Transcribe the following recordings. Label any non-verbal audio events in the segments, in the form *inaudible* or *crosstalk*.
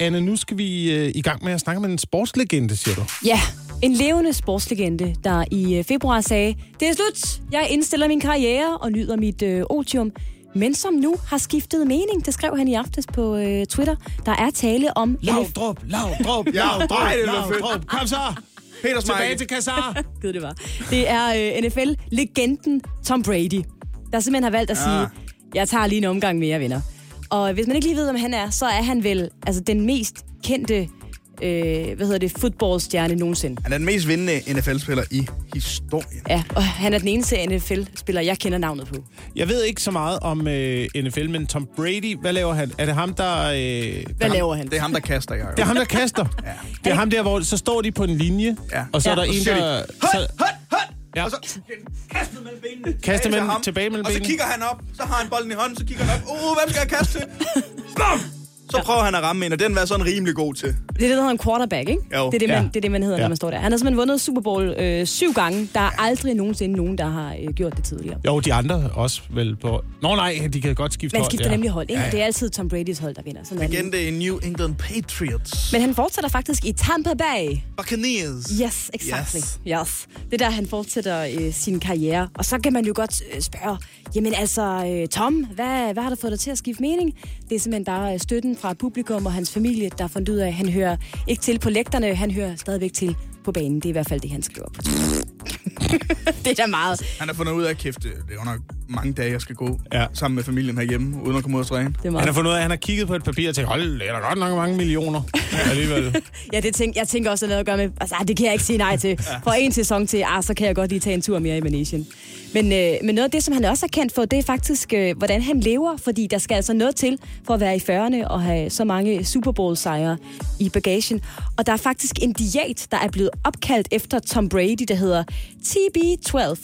Anne, nu skal vi øh, i gang med at snakke med en sportslegende, siger du. Ja, en levende sportslegende, der i øh, februar sagde, det er slut, jeg indstiller min karriere og nyder mit øh, otium, men som nu har skiftet mening. Det skrev han i aftes på øh, Twitter. Der er tale om... Lavdrup, Lavdrup, Lavdrup, Ej, det lyder fedt. Lavdrup. Kom så! Peters Tilbage Michael. til Kassar. *laughs* Gud, det var. Det er øh, NFL-legenden Tom Brady, der simpelthen har valgt at sige, Ah. jeg tager lige en omgang mere, venner. Og hvis man ikke lige ved, hvem han er, så er han vel altså, den mest kendte øh, hvad hedder det, fodboldstjerne nogensinde. Han er den mest vindende NFL-spiller i historien. Ja, og han er den eneste NFL-spiller, jeg kender navnet på. Jeg ved ikke så meget om øh, NFL, men Tom Brady, hvad laver han? Er det ham, der... Øh, Hvad laver han? Det er ham, der kaster, jeg. Det er ham, der kaster. Ja. Det er ham der, hvor så står de på en linje, Ja. og så er Ja. der en, siger de, der... Hot, så- hot, hot! Ja. Og så kastet mellem benene. Kastet til mellem- ham. tilbage mellem Og så benene. kigger han op, så har han bolden i hånden, så kigger han op. Uh, hvem skal jeg kaste til? Bam! Så prøver han at ramme en, og den var sådan rimelig god til. Det er det, der hedder en quarterback, ikke? Jo. Det, er det, man, Ja. det er det, man hedder, Ja. når man står der. Han har simpelthen vundet Super Bowl øh, syv gange. Der er aldrig nogensinde nogen, der har øh, gjort det tidligere. Jo, de andre også vel på... Nå nej, de kan godt skifte Man hold, skifter ja. nemlig hold, ikke? Det er altid Tom Brady's hold, der vinder. Sådan er det. Igen, det er New England Patriots. Men han fortsætter faktisk i Tampa Bay. Buccaneers. Yes, exactly. Yes. Yes. yes. Det er der, han fortsætter øh, sin karriere. Og så kan man jo godt øh, spørge, jamen altså, øh, Tom, hvad, hvad har der fået dig til at skifte mening? Det er simpelthen bare øh, støtten fra publikum og hans familie, der har fundet ud af, at han hører ikke til på lægterne, han hører stadigvæk til på banen. Det er i hvert fald det, han skriver på. *laughs* det er da meget. Han har fundet ud af, at kæft, det det er under mange dage, jeg skal gå Ja. ja. sammen med familien herhjemme, uden at komme ud og træne. Det er Han meget. har fundet ud af, at han har kigget på et papir og tænkt, hold, det er der godt nok mange millioner alligevel. Ja, det tænk, jeg tænker også, at noget at gøre med, altså, ah, det kan jeg ikke sige nej til. For en sæson til, ah, så kan jeg godt lige tage en tur mere i Manesien. Men, øh, men noget af det, som han også er kendt for, det er faktisk, øh, hvordan han lever. Fordi der skal altså noget til for at være i 40'erne og have så mange Super Bowl-sejre i bagagen. Og der er faktisk en diæt, der er blevet opkaldt efter Tom Brady, der hedder TB12.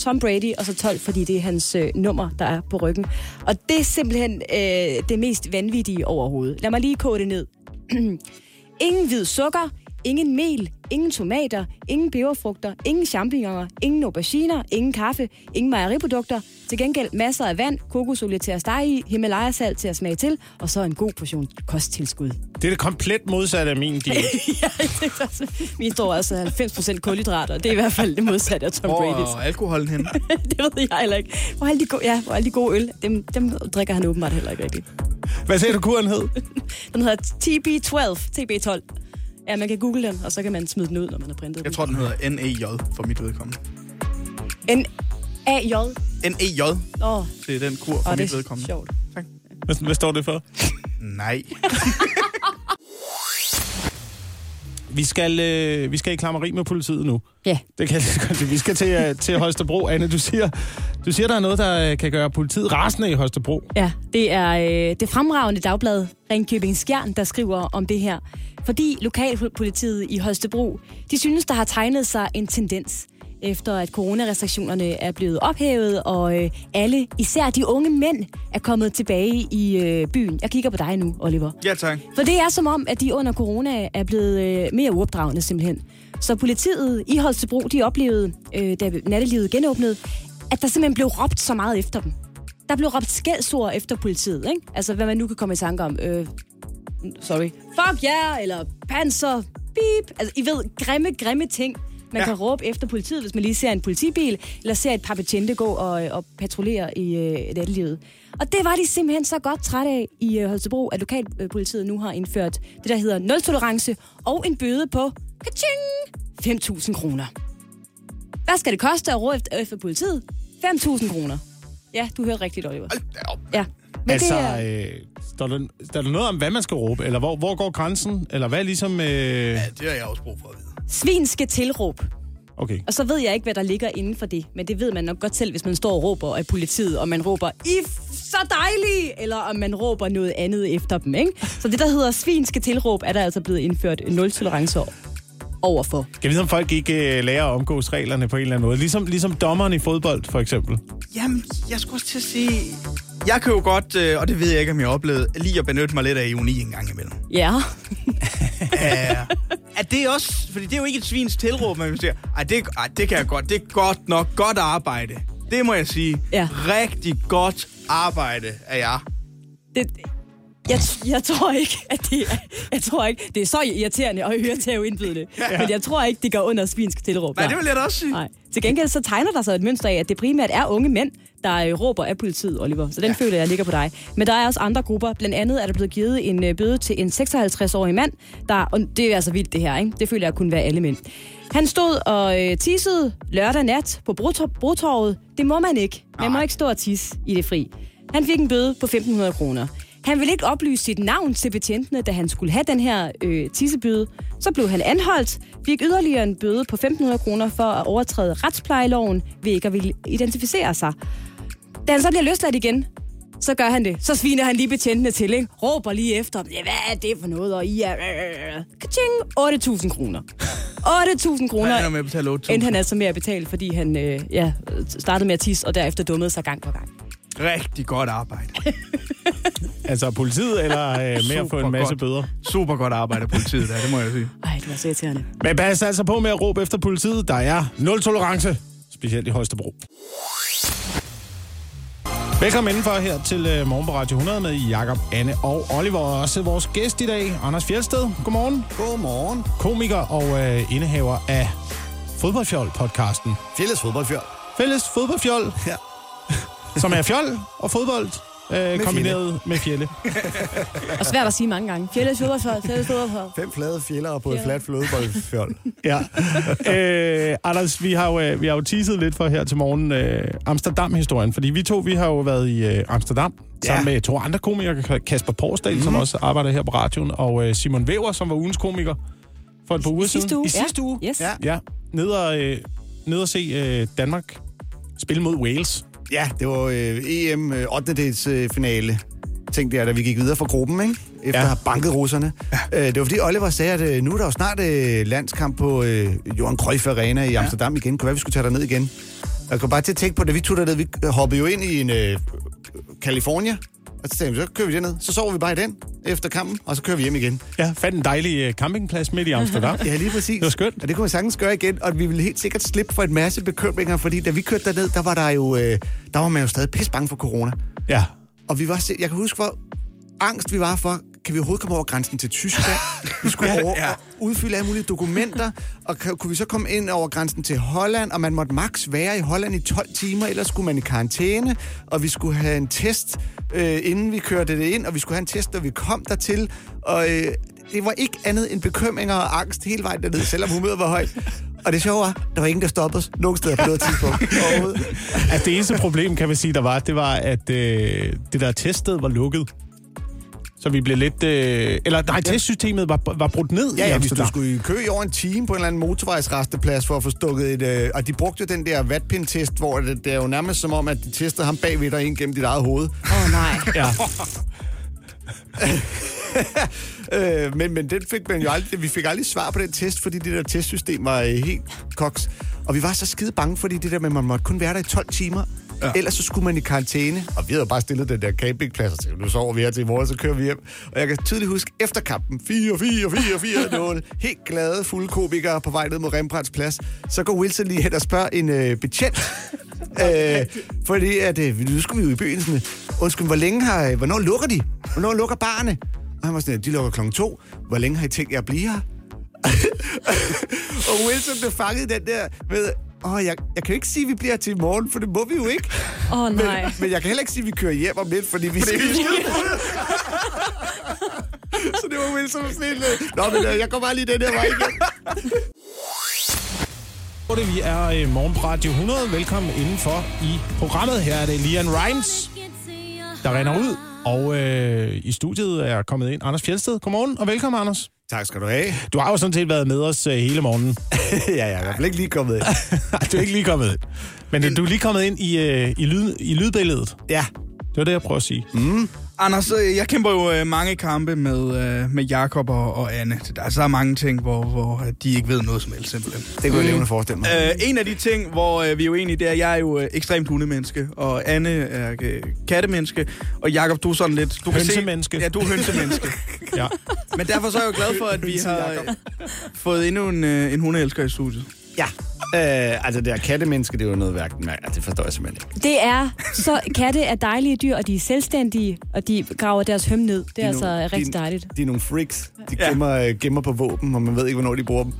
Tom Brady, og så 12, fordi det er hans øh, nummer, der er på ryggen. Og det er simpelthen øh, det mest vanvittige overhovedet. Lad mig lige kode det ned. Ingen hvid sukker, ingen mel, ingen tomater, ingen peberfrugter, ingen champignoner, ingen auberginer, ingen kaffe, ingen mejeriprodukter. Til gengæld masser af vand, kokosolie til at stege i, Himalaya-salt til at smage til, og så en god portion kosttilskud. *laughs* Det er det komplet modsatte af min diæt. ja, jeg tænkte også, min står altså 90% kulhydrater. Det er i hvert fald det modsatte af Tom Brady's. Hvor er alkoholen henne? *laughs* det ved jeg heller ikke. Hvor alle de gode, ja, hvor alle de gode øl, dem, dem drikker han åbenbart heller ikke rigtigt. Hvad sagde du, kuren hed? Den hedder TB12. TB12. Ja, man kan google den, og så kan man smide den ud, når man har printet Jeg tror, den hedder NEJ for mit vedkommende. den. En AJ. NEJ, Åh, oh, det er den kur for og mit det er vedkommende. sjovt. Hvad, hvad står det for? Nej. Vi skal, øh, vi skal i klammeri med politiet nu. Ja. Det kan jeg lige så godt sige. Vi skal til, øh, til Holstebro. Anne, du siger, du siger, der er noget, der øh, kan gøre politiet rasende i Holstebro. Ja, det er øh, det fremragende dagblad Ringkøbing Skjern, der skriver om det her. Fordi lokalpolitiet i Holstebro, de synes, der har tegnet sig en tendens efter at coronarestriktionerne er blevet ophævet, og øh, alle, især de unge mænd, er kommet tilbage i øh, byen. Jeg kigger på dig nu, Oliver. Ja, tak. For det er som om, at de under corona er blevet øh, mere uopdragende simpelthen. Så politiet i Holstebro, de oplevede, øh, da nattelivet genåbnede, at der simpelthen blev råbt så meget efter dem. Der blev råbt skældsord efter politiet, ikke? Altså, hvad man nu kan komme i tanke om. Øh, sorry. Fuck jer, yeah, eller panser, beep. Altså, I ved, grimme, grimme ting. Man Ja. ja. kan råbe efter politiet, hvis man lige ser en politibil, eller ser et par betjente gå og, og patruljere i øh, nattelivet. Og det var de simpelthen så godt trætte af i øh, Holstebro, at lokalpolitiet øh, nu har indført det, der hedder nul-tolerance og en bøde på kaching, 5.000 kroner. Hvad skal det koste at råbe efter- efter politiet? 5.000 kroner. Ja, du hørte rigtigt, Oliver. Hold da op. Ja. Men altså, øh, står, der, står der noget om, hvad man skal råbe? Eller hvor, hvor går grænsen? Eller hvad er ligesom... Øh... Ja, det har jeg også brug for at vide. svin skal tilråb. Okay. Og så ved jeg ikke, hvad der ligger inden for det, men det ved man nok godt selv, hvis man står og råber af politiet, og man råber, I f- så dejlige, eller om man råber noget andet efter dem, ikke? Så det, der hedder svin skal tilråb, er der altså blevet indført nul-tolerance overfor. Kan vi vide, om folk ikke øh, lærer at omgås reglerne på en eller anden måde? Ligesom, ligesom dommeren i fodbold, for eksempel. Jamen, jeg skulle også til at sige... Jeg kan jo godt, øh, og det ved jeg ikke, om jeg har oplevet, lige at benytte mig lidt af ironi en gang *laughs* imellem. Ja, Ja. Er det også... Fordi det er jo ikke et svins tilråb, man siger. Ej det, ej, det kan jeg godt. Det er godt nok godt arbejde. Det må jeg sige. Ja. Rigtig godt arbejde af jer. det, Jeg, t- jeg tror ikke, at det er, jeg tror ikke, det er så irriterende og høre til at indbyde ja. Men jeg tror ikke, det går under svinsk tilråb. Nej, der. det vil jeg da også sige. Nej. Til gengæld så tegner der sig et mønster af, at det primært er unge mænd, der øh, råber af politiet, Oliver. Så den ja. føler jeg ligger på dig. Men der er også andre grupper. Blandt andet er der blevet givet en øh, bøde til en 56-årig mand, der... Og det er altså vildt det her, ikke? Det føler jeg kunne være alle mænd. Han stod og øh, tissede lørdag nat på Brotor- Brotorvet. Det må man ikke. Man må ikke stå og tisse i det fri. Han fik en bøde på 1.500 kroner. Han ville ikke oplyse sit navn til betjentene, da han skulle have den her øh, tissebøde. Så blev han anholdt, fik yderligere en bøde på 1.500 kroner for at overtræde retsplejeloven ved ikke at ville identificere sig. Da han så bliver løsladt igen, så gør han det. Så sviner han lige betjentene til, ikke? Råber lige efter dem. Ja, hvad er det for noget? Og I er... øh, Kaching! 8.000 kroner. 8.000 kroner. Han ender med at betale 8.000. Endte han altså med at betale, fordi han øh, ja, startede med at tisse, og derefter dummede sig gang på gang. Rigtig godt arbejde. Altså politiet, eller øh, med at få Super en masse godt. bøder? Super godt arbejde af politiet der, det må jeg sige. Ej, det var så irriterende. Men pas altså på med at råbe efter politiet. Der er nul tolerance, specielt i Holstebro. Velkommen indenfor her til øh, Morgen på Radio 100 med Jakob, Anne og Oliver. Og også vores gæst i dag, Anders Fjeldsted. Godmorgen. Godmorgen. Komiker og øh, indehaver af Fodboldfjol-podcasten. Fælles fodboldfjør. Fælles Fodboldfjol, Ja. som er fjol og fodbold øh, kombineret med fjelle. Og svært at sige mange gange. Fjellet fodboldhold, fjellet fodboldhold. Fem flade fjellere på et Ja. fladt flodboldfjold. *laughs* Ja. øh, Anders, vi har, jo, øh, vi har jo teaset lidt for her til morgen øh, Amsterdam-historien, fordi vi to vi har jo været i øh, Amsterdam ja. sammen med to andre komikere, Kasper Porsdal, mm. som Mhm. også arbejder her på radioen, og øh, Simon Væver, som var ugens komiker for et par uger sidste siden. uge, I ja. sidste uge. Yes. Ja. ja. Ned og, øh, ned og se øh, Danmark spille mod Wales. Ja, det var øh, EM øh, 8. dels øh, finale. Tænkte jeg, da vi gik videre fra gruppen, ikke? Efter Ja. ja. at have banket russerne. Ja. Øh, det var fordi Oliver sagde, at øh, nu er der jo snart øh, landskamp på øh, Johan Cruyff Arena i Amsterdam igen. Kunne være, vi skulle tage derned igen. Jeg kom bare til at tænke på, da vi tog derned, vi hoppede jo ind i en øh, California. Og så tænkte vi, så kører vi derned. Så sover vi bare i den efter kampen, og så kører vi hjem igen. Ja, fandt en dejlig øh, campingplads *laughs* midt i Amsterdam. Ja, lige præcis. Det var skønt. Og det kunne vi sagtens gøre igen, og vi ville helt sikkert slippe for en masse bekymringer, fordi da vi kørte derned, der var der jo, øh, der var man jo stadig pisse bange for corona. Ja. Og vi var, se- jeg kan huske, hvor angst vi var for, kan vi overhovedet komme over grænsen til Tyskland? Vi skulle over og udfylde alle mulige dokumenter, og kan- kunne vi så komme ind over grænsen til Holland, og man måtte maks være i Holland i 12 timer, ellers skulle man i karantæne, og vi skulle have en test, øh, inden vi kørte det ind, og vi skulle have en test, når vi kom dertil, og øh, det var ikke andet end bekymringer og angst hele vejen derned, selvom humøret var højt. Og det sjove var, der var ingen, der stoppede os nogen steder på noget tidspunkt overhovedet. Altså, det eneste problem, kan man sige, der var, det var, at øh, det der teststed var lukket. Så vi blev lidt... Øh, eller nej, testsystemet var, var brudt ned Ja, i ja, hvis du Amsterdam. skulle i kø i over en time på en eller anden motorvejsresteplads for at få stukket et... Øh, og de brugte jo den der vatpindtest, hvor det, det er jo nærmest som om, at de testede ham bagved dig ind gennem dit eget hoved. *laughs* Åh oh, nej. Ja. Øh, men, men den fik man jo aldrig, vi fik aldrig svar på den test, fordi det der testsystem var øh, helt koks. Og vi var så skide bange, fordi det der med, at man måtte kun være der i 12 timer. Ja. Ellers så skulle man i karantæne. Og vi havde jo bare stillet den der campingplads og tænkt, nu sover vi her til i morgen, så kører vi hjem. Og jeg kan tydeligt huske, efter kampen, 4, 4, 4, 4, 0, helt glade, fulde komikere på vej ned mod Rembrandts plads, så går Wilson lige hen og spørger en øh, betjent, øh, fordi at, øh, nu skulle vi jo i byen sådan, undskyld, hvor længe har, øh, hvornår lukker de? Hvornår lukker barne? Og han var sådan, de lukker klokken to. Hvor længe har I tænkt jer at blive her? *laughs* og Wilson blev fanget i den der med, åh, jeg, jeg kan jo ikke sige, at vi bliver her til i morgen, for det må vi jo ikke. Åh oh, Men, nej. men jeg kan heller ikke sige, at vi kører hjem om lidt, fordi vi skal... Så det var Wilson sådan lidt... øh, Nå, men øh, jeg går bare lige den her vej igen. *laughs* Hvor det vi er øh, morgen på Radio 100. Velkommen indenfor i programmet. Her er det Lian Rimes, der render ud. Og øh, i studiet er kommet ind Anders Fjeldsted. Godmorgen og velkommen, Anders. Tak skal du have. Du har jo sådan set været med os øh, hele morgenen. *laughs* ja, jeg er *laughs* i hvert fald ikke lige kommet ind. du er ikke lige kommet ind. Men øh, du er lige kommet ind i, øh, i, lyd, i lydbilledet. Ja, Det var det, jeg prøver at sige. Mm. Anders, øh, jeg kæmper jo øh, mange kampe med, øh, med Jakob og, og Anne. Der er så mange ting, hvor, hvor øh, de ikke ved noget som helst simpelthen. det kunne jeg levende forestille mig. Øh, en af de ting, hvor øh, vi er jo enige, det er, at jeg er jo øh, ekstremt hundemenneske, og Anne er øh, kattemenneske, og Jakob du er sådan lidt... Du kan se- Hønsemenneske. Ja, du er hønsemenneske. Ja. Men derfor så er jeg jo glad for, at vi har øh, fået endnu en, øh, en hundeelsker i studiet. Ja. Øh, altså, det her kattemenneske, det er jo noget værk. Nej, altså, det forstår jeg simpelthen ikke. Det er så... Katte er dejlige dyr, og de er selvstændige, og de graver deres høm ned. Det er, De er altså nogle- rigtig de, dejligt. De er nogle freaks. De Ja. gemmer, øh, gemmer på våben, og man ved ikke, hvornår de bruger dem.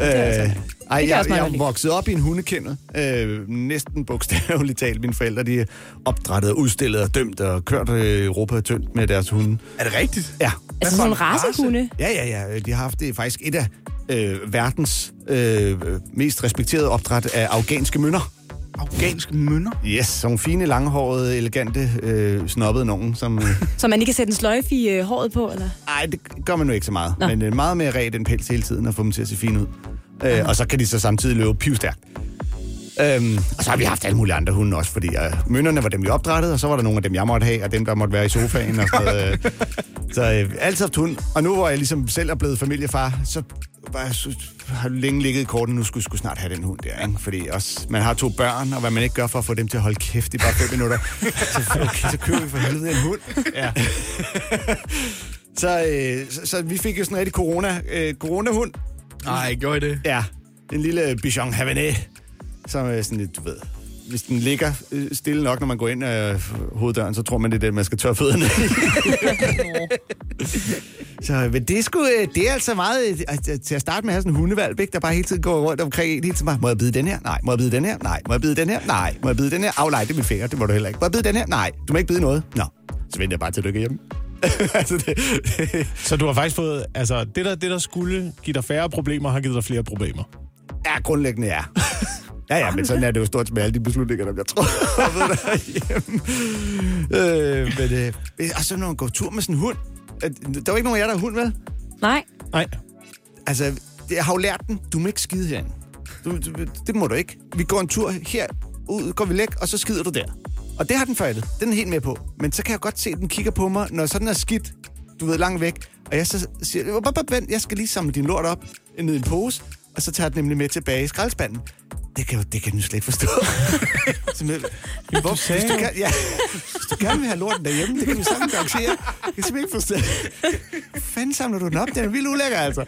Øh, altså- ej, det kan jeg jeg, også meget godt jeg lide. voksede op i en hundekendel. Øh, næsten bogstaveligt talt. Mine forældre, de opdrettede, udstillede og dømte og kørte øh, Europa tyndt med deres hunde. Er det rigtigt? Ja. Altså sådan for en nogle race? racehunde. Ja, ja, ja. De har haft det faktisk et af øh, verdens øh, mest respekterede opdræt af afghanske mønner. Afghanske mønner? Yes, sådan nogle fine, langhårede, elegante, øh, snobbede nogen, som... øh, Så man ikke kan sætte en sløjfe i øh, håret på, eller? Ej, det gør man nu ikke så meget. Nå. Nå. Men øh, meget mere ret end pels hele tiden og få dem til at se fine ud. Øh, og så kan de så samtidig løbe pivstærkt. Øhm, og så har vi haft alle mulige andre hunde også, fordi øh, mønnerne var dem, vi opdrettede, og så var der nogle af dem, jeg måtte have, og dem, der måtte være i sofaen og sådan noget. Øh. Så øh, altid haft hund. Og nu, hvor jeg ligesom selv er blevet familiefar, så var jeg, så har det længe ligget i korten, nu skulle skulle snart have den hund der, ikke? Fordi også, man har to børn, og hvad man ikke gør for at få dem til at holde kæft i bare fem minutter. Så, okay, så køber vi for helvede en hund. Ja. Så, øh, så, så vi fik jo sådan en rigtig corona, øh, coronahund. Nej, gjorde I det? Ja, en lille Bichon Havanais, som er sådan lidt, du ved, hvis den ligger øh, stille nok, når man går ind af øh, hoveddøren, så tror man, det er det, man skal tørre fødderne i. så men det, er sgu, øh, det er altså meget, øh, altså, til at starte med at have sådan en hundevalg, ikke, der bare hele tiden går rundt omkring en, hele tiden bare, må jeg bide den her? Nej. Må jeg bide den her? Nej. Må jeg bide den her? Nej. Må jeg bide den her? Af, nej, det er min finger, det må du heller ikke. Må jeg bide den her? Nej. Du må ikke bide noget. Nå, så venter jeg bare til du ikke er hjemme. *laughs* altså, det, Så du har faktisk fået... Altså, det der, det der skulle give dig færre problemer, har givet dig flere problemer. Ja, grundlæggende ja. Ja, ja, men sådan er det jo stort set med alle de beslutninger, der bliver truffet derhjemme. Øh, men, øh, øh, og så når man går tur med sådan en hund. Øh, Der var ikke nogen af jer, der har hund, vel? Nej. Nej. Altså, det- jeg har jo lært den. Du må ikke skide herinde. Du, du, det må du ikke. Vi går en tur her, ud går vi læk, og så skider du der. Og det har den fejlet. Den er den helt med på. Men så kan jeg godt se, at den kigger på mig, når sådan er skidt, du ved, langt væk. Og jeg så siger, "Op, op, op, vent, jeg skal lige samle din lort op ned i en pose, og så tager jeg den nemlig med tilbage i skraldespanden. Det kan, jo- det kan den jo slet ikke forstå. *laughs* Simpelthen. Hvor, hvis, sagde du jo. kan, ja, hvis du gerne vil have lorten derhjemme, det kan vi sammen garantere. Jeg kan simpelthen ikke forstå. Hvor fanden samler du den op? Den er vildt ulækker, altså.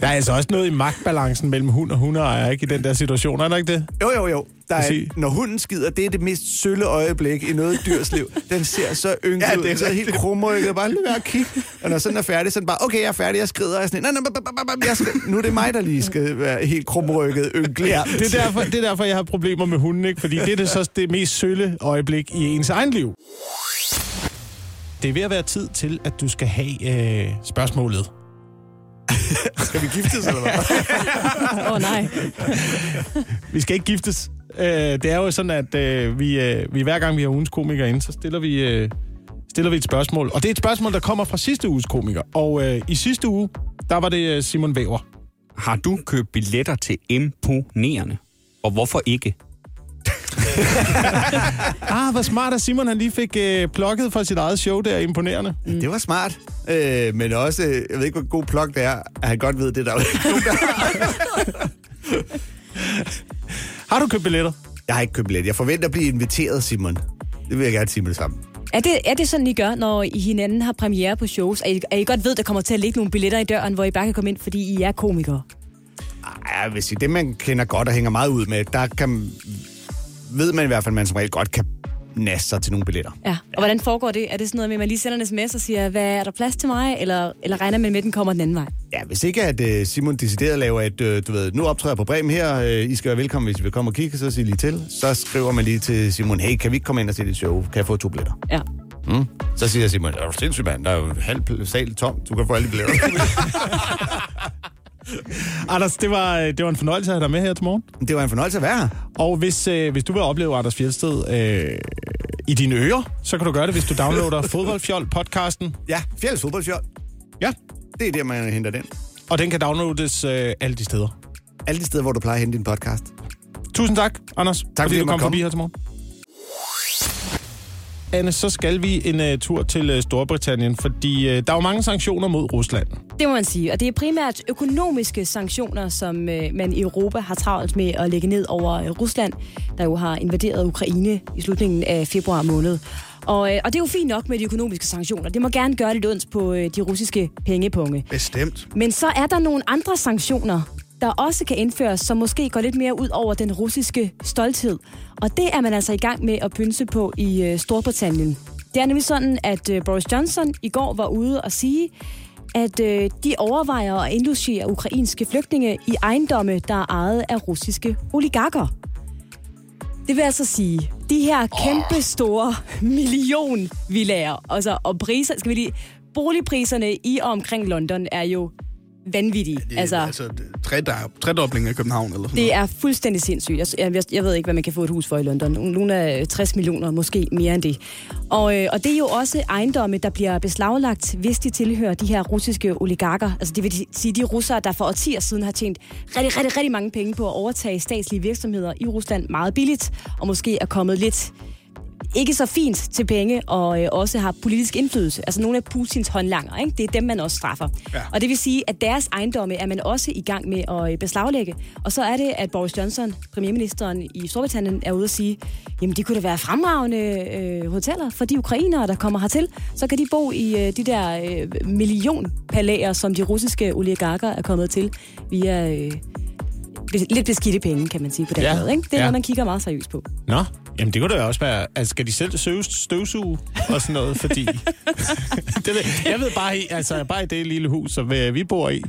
Der er altså også noget i magtbalancen mellem hund og hundeejer, ikke? I den der situation, er der ikke det? Jo, jo, jo. Der er, Præcis. når hunden skider, det er det mest sølle øjeblik i noget dyrs liv. Den ser så yngre Ja, ja, ud, det er den ser helt rigtigt. krumrykket, og bare lige ved at kigge. Og når sådan er færdig, så er den bare, okay, jeg er færdig, jeg skrider. Og jeg er sådan, nej, nej, bap, bap, bap, bap, jeg skal, nu er det mig, der lige skal være helt krumrykket, ynkelig. Ja, det er derfor, det er derfor jeg har problemer med hunden, ikke? Fordi det er det, så, det mest sølle øjeblik i ens egen liv. Det er ved at være tid til, at du skal have øh, spørgsmålet. Skal vi giftes, eller hvad? Åh, oh, nej. Vi skal ikke giftes. Øh, det er jo sådan, at øh, vi, øh, vi hver gang vi har ugens komiker inde, så stiller vi, øh, stiller vi et spørgsmål. Og det er et spørgsmål, der kommer fra sidste uges komiker. Og øh, i sidste uge, der var det øh, Simon Væver. Har du købt billetter til Imponerende? Og hvorfor ikke? Ah, hvor smart, at Simon han lige fik øh, plukket fra sit eget show der. Imponerende. Det var smart. Øh, men også, øh, jeg ved ikke, hvor god plok det er, at han godt ved det, er *laughs* der er jo ikke nogen, der Har du købt billetter? Jeg har ikke købt billet. Jeg forventer at blive inviteret, Simon. Det vil jeg gerne sige med det samme. Er det, er det sådan, I gør, når I hinanden har premiere på shows? At I, at I godt ved, der kommer til at ligge nogle billetter i døren, hvor I bare kan komme ind, fordi I er komikere? Ej, jeg vil sige, det man kender godt og hænger meget ud med, der kan, ved man i hvert fald, at man som regel godt kan nasse sig til nogle billetter. Ja. Og hvordan foregår det? Er det sådan noget med, at man lige sender en sms og siger, hvad er der plads til mig? Eller, eller regner man med, at den kommer den anden vej? Ja, hvis ikke at øh, Simon decideret laver, at øh, du ved, nu optræder jeg på Bremen her, øh, I skal være velkommen, hvis I vil komme og kigge, så sig lige til. Så skriver man lige til Simon, hey, kan vi ikke komme ind og se dit show? Kan jeg få to billetter? Ja. Så siger Simon, er du sindssyg mand, der er jo en halv pl- sal tom, du kan få alle de billetter. Anders, det var, øh, det var en fornøjelse at have dig med her til morgen. *laughs* det var en fornøjelse at være her. Og hvis, øh, hvis du vil opleve Anders Fjeldsted øh, i dine ører, så kan du gøre det, hvis du downloader Fodboldfjold-podcasten. Ja, Fjells fodboldshow. Ja, Det er der, man henter den. og den kan downloades øh, alle de steder. Alle de steder, hvor du plejer at hente din podcast. Tusind tak, Anders. Tak, fordi fordi jeg du måtte kom forbi komme. her til morgen. Anne, så skal vi en uh, tur til uh, Storbritannien, fordi uh, der er jo mange sanktioner mod Rusland. Det må man sige. Og det er primært økonomiske sanktioner, som øh, man i Europa har travlt med at lægge ned over øh, Rusland, der jo har invaderet Ukraine i slutningen af februar måned. Og, øh, og det er jo fint nok med de økonomiske sanktioner. Det må gerne gøre lidt ondt på øh, de russiske pengepunge. Bestemt. Men så er der nogle andre sanktioner, der også kan indføres, som måske går lidt mere ud over den russiske stolthed. Og det er man altså i gang med at pynse på i øh, Storbritannien. Det er nemlig sådan, at øh, Boris Johnson i går var ude og sige, at øh, de overvejer at indlogere ukrainske flygtninge i ejendomme, der er ejet af russiske oligarker. Det vil altså sige, de her kæmpe store millionvillager, altså, og priser, skal vi lige, boligpriserne i og omkring London er jo vanvittige. Det er altså, altså tredob- tredobling af København eller sådan det er fuldstændig sindssygt. Jeg, jeg, jeg- jeg ved ikke, hvad man kan få et hus for i London. Nogle af 60 millioner, måske mere end det. Og, øh, og det er jo også ejendomme, der bliver beslaglagt, hvis de tilhører de her russiske oligarker. Altså det vil sige de russere, der for årtier siden har tjent rigtig, rigtig, rigtig mange penge på at overtage statslige virksomheder i Rusland meget billigt, og måske er kommet lidt ikke så fint til penge, og øh, også har politisk indflydelse. Altså nogle af Putins håndlanger, ikke? det er dem, man også straffer. Ja. Og det vil sige, at deres ejendomme er man også i gang med at øh, beslaglægge. Og så er det, at Boris Johnson, premierministeren i Storbritannien, er ude at sige, jamen de kunne da være fremragende øh, hoteller for de ukrainere, der kommer hertil. Så kan de bo i øh, de der øh, millionpalæer, som de russiske oligarker er kommet til via... Øh, bes- lidt beskidte penge, kan man sige på den Ja. måde. Ikke? Det er Ja. noget, man kigger meget seriøst på. Nå, jamen det kunne da også være, altså skal de selv søge støvsuge og sådan noget, fordi... *laughs* det ved, jeg ved bare, i- altså bare i det lille hus, som øh, vi bor i,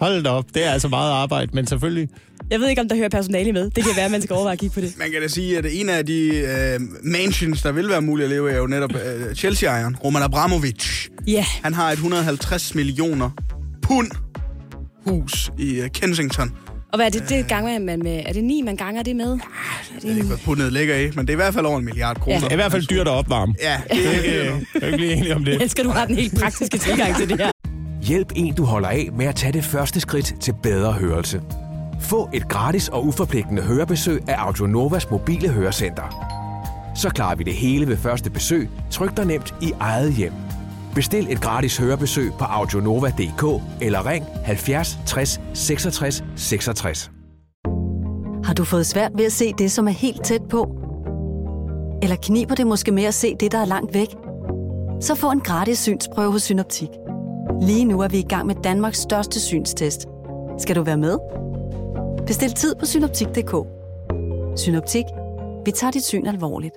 hold da op, det er altså meget arbejde, men selvfølgelig... Jeg ved ikke, om der hører personale med. Det kan være, at man skal overveje at kigge på det. Man kan da sige, at en af de øh, mansions, der vil være muligt at leve i, er jo netop øh, Chelsea-ejeren, Roman Abramovich. Ja, Han har et 150 millioner pund hus i øh, Kensington. og hvad er det, det ganger man med? Er det ni, man ganger det med? Er Jeg ved det ikke, en... hvad pundet ligger i, men det er i hvert fald over en milliard kroner. Ja. Det er i hvert fald dyrt at opvarme. Ja, det er Øh, ikke Jeg er ikke lige enig om det. Jeg elsker, du har den helt praktiske tilgang til det her. Hjælp en, du holder af med at tage det første skridt til bedre hørelse. Få et gratis og uforpligtende hørebesøg af Audionovas mobile hørecenter. Så klarer vi det hele ved første besøg, tryk dig nemt i eget hjem. Bestil et gratis hørebesøg på audionova.dk eller ring 70 60 66 66. Har du fået svært ved at se det, som er helt tæt på? Eller kniber det måske med at se det, der er langt væk? Så få en gratis synsprøve hos Synoptik. Lige nu er vi i gang med Danmarks største synstest. Skal du være med? Bestil tid på synoptik.dk. Synoptik. Vi tager dit syn alvorligt.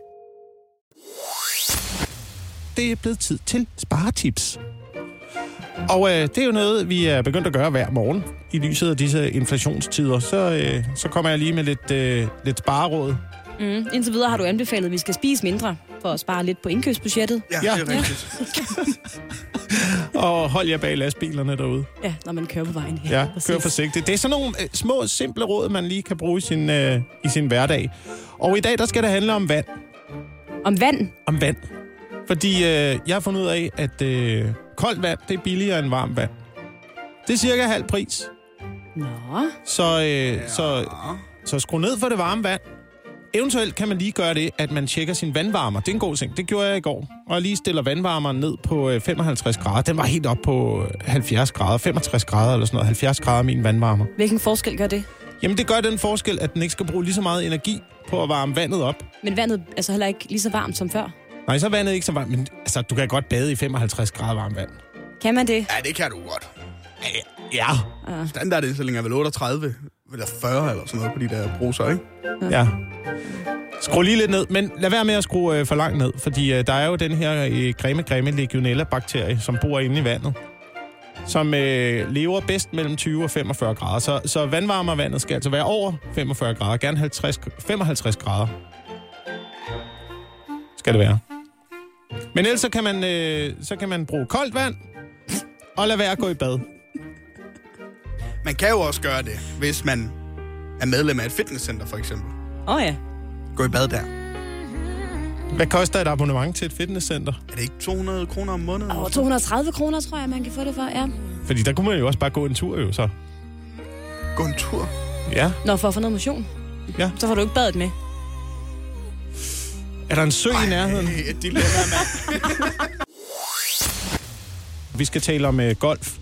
det er blevet tid til sparetips. Og øh, det er jo noget, vi er begyndt at gøre hver morgen i lyset af disse inflationstider. Så, øh, så kommer jeg lige med lidt, øh, lidt spareråd. Mm. Indtil videre har du anbefalet, at vi skal spise mindre for at spare lidt på indkøbsbudgettet. Ja, Ja. det er rigtigt. Og hold jer bag lastbilerne derude. Ja, når man kører på vejen. Ja, præcis. kør forsigtigt. Det er sådan nogle øh, små, simple råd, man lige kan bruge i sin, øh, i sin hverdag. Og i dag, der skal det handle om vand. Om vand. Om vand. Fordi øh, jeg har fundet ud af, at øh, koldt vand, det er billigere end varmt vand. Det er cirka halv pris. Nå. Så, øh, ja. så, så skru ned for det varme vand. Eventuelt kan man lige gøre det, at man tjekker sin vandvarmer. Det er en god ting. Det gjorde jeg i går. Og jeg lige stiller vandvarmeren ned på øh, 55 grader. Den var helt op på øh, 70 grader, 65 grader eller sådan noget. 70 grader min vandvarmer. Hvilken forskel gør det? Jamen det gør den forskel, at den ikke skal bruge lige så meget energi på at varme vandet op. Men vandet er så heller ikke lige så varmt som før. Nej, så er vandet ikke så varmt, men altså, du kan godt bade i 55 grader varmt vand. Kan man det? Ja, det kan du godt. Ja. Standardindstilling er vel 38 eller 40 eller sådan noget på de der bruser, ikke? Ja. Skru lige lidt ned, men lad være med at skrue øh, for langt ned, fordi øh, der er jo den her øh, creme creme legionella bakterie, som bor inde i vandet, som øh, lever bedst mellem 20 og 45 grader. Så, så vandvarmervandet skal altså være over 45 grader, gerne 50, 55 grader. Skal det være. Men ellers så kan man, øh, så kan man bruge koldt vand, og lade være at gå i bad. Man kan jo også gøre det, hvis man er medlem af et fitnesscenter, for eksempel. Åh oh, ja. Gå i bad der. Hvad koster et abonnement til et fitnesscenter? Er det ikke 200 kroner om måneden? Over 230 kroner, tror jeg, man kan få det for, ja. Fordi der kunne man jo også bare gå en tur jo så. Gå en *laughs* tur. Ja. Nå, for at få noget motion. Ja. Så får du ikke badet med. Er der en sø i nærheden? Det er et dilemma, mand. Vi skal tale om øh, golf.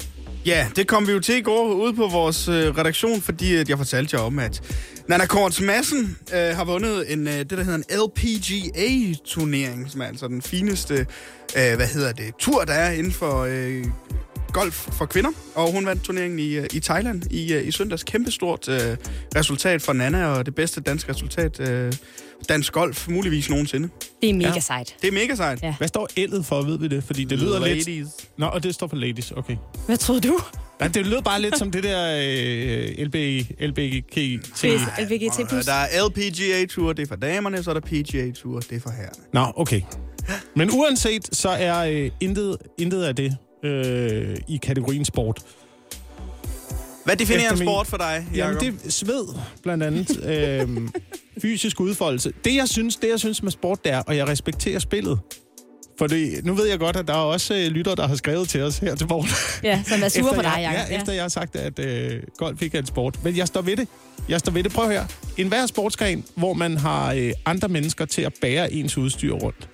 Ja, det kom vi jo til i går ude på vores øh, redaktion, fordi at jeg fortalte jer om, at Nana Korts Madsen øh, har vundet en, øh, det, der hedder en LPGA-turnering, som er altså den fineste øh, hvad hedder det, tur, der er inden for øh, golf for kvinder, og hun vandt turneringen i, øh, i Thailand i, øh, i søndags. Kæmpestort øh, resultat for Nana, og det bedste danske resultat, øh, dansk golf, muligvis nogensinde. Det er mega ja. sejt. Det er mega sejt. Ja. Hvad står L'et for, ved vi det? Fordi det lyder lidt... Nå, og det står for ladies, okay. Hvad troede du? Nej, det lyder bare lidt som det der øh, LB, LBG... LBGT+. Og øh, Der er LPGA-tur, det er for damerne, så er der PGA-tur, det er for herrerne. Nå, okay. Men uanset, så er øh, intet, intet af det øh, i kategorien sport. Hvad definerer en Efter min- sport for dig, Jamen, Jacob? det er sved, blandt andet. øhm, *laughs* fysisk udfoldelse. Det jeg, synes, det, jeg synes med sport, det er, og jeg respekterer spillet. For det, nu ved jeg godt, at der er også øh, lytter, der har skrevet til os her til morgen. Ja, som er sure på dig, jeg, Jacob. ja, efter jeg har sagt, at øh, golf ikke er en sport. Men jeg står ved det. Jeg står ved det. Prøv her. En hver sportsgren, hvor man har øh, andre mennesker til at bære ens udstyr rundt.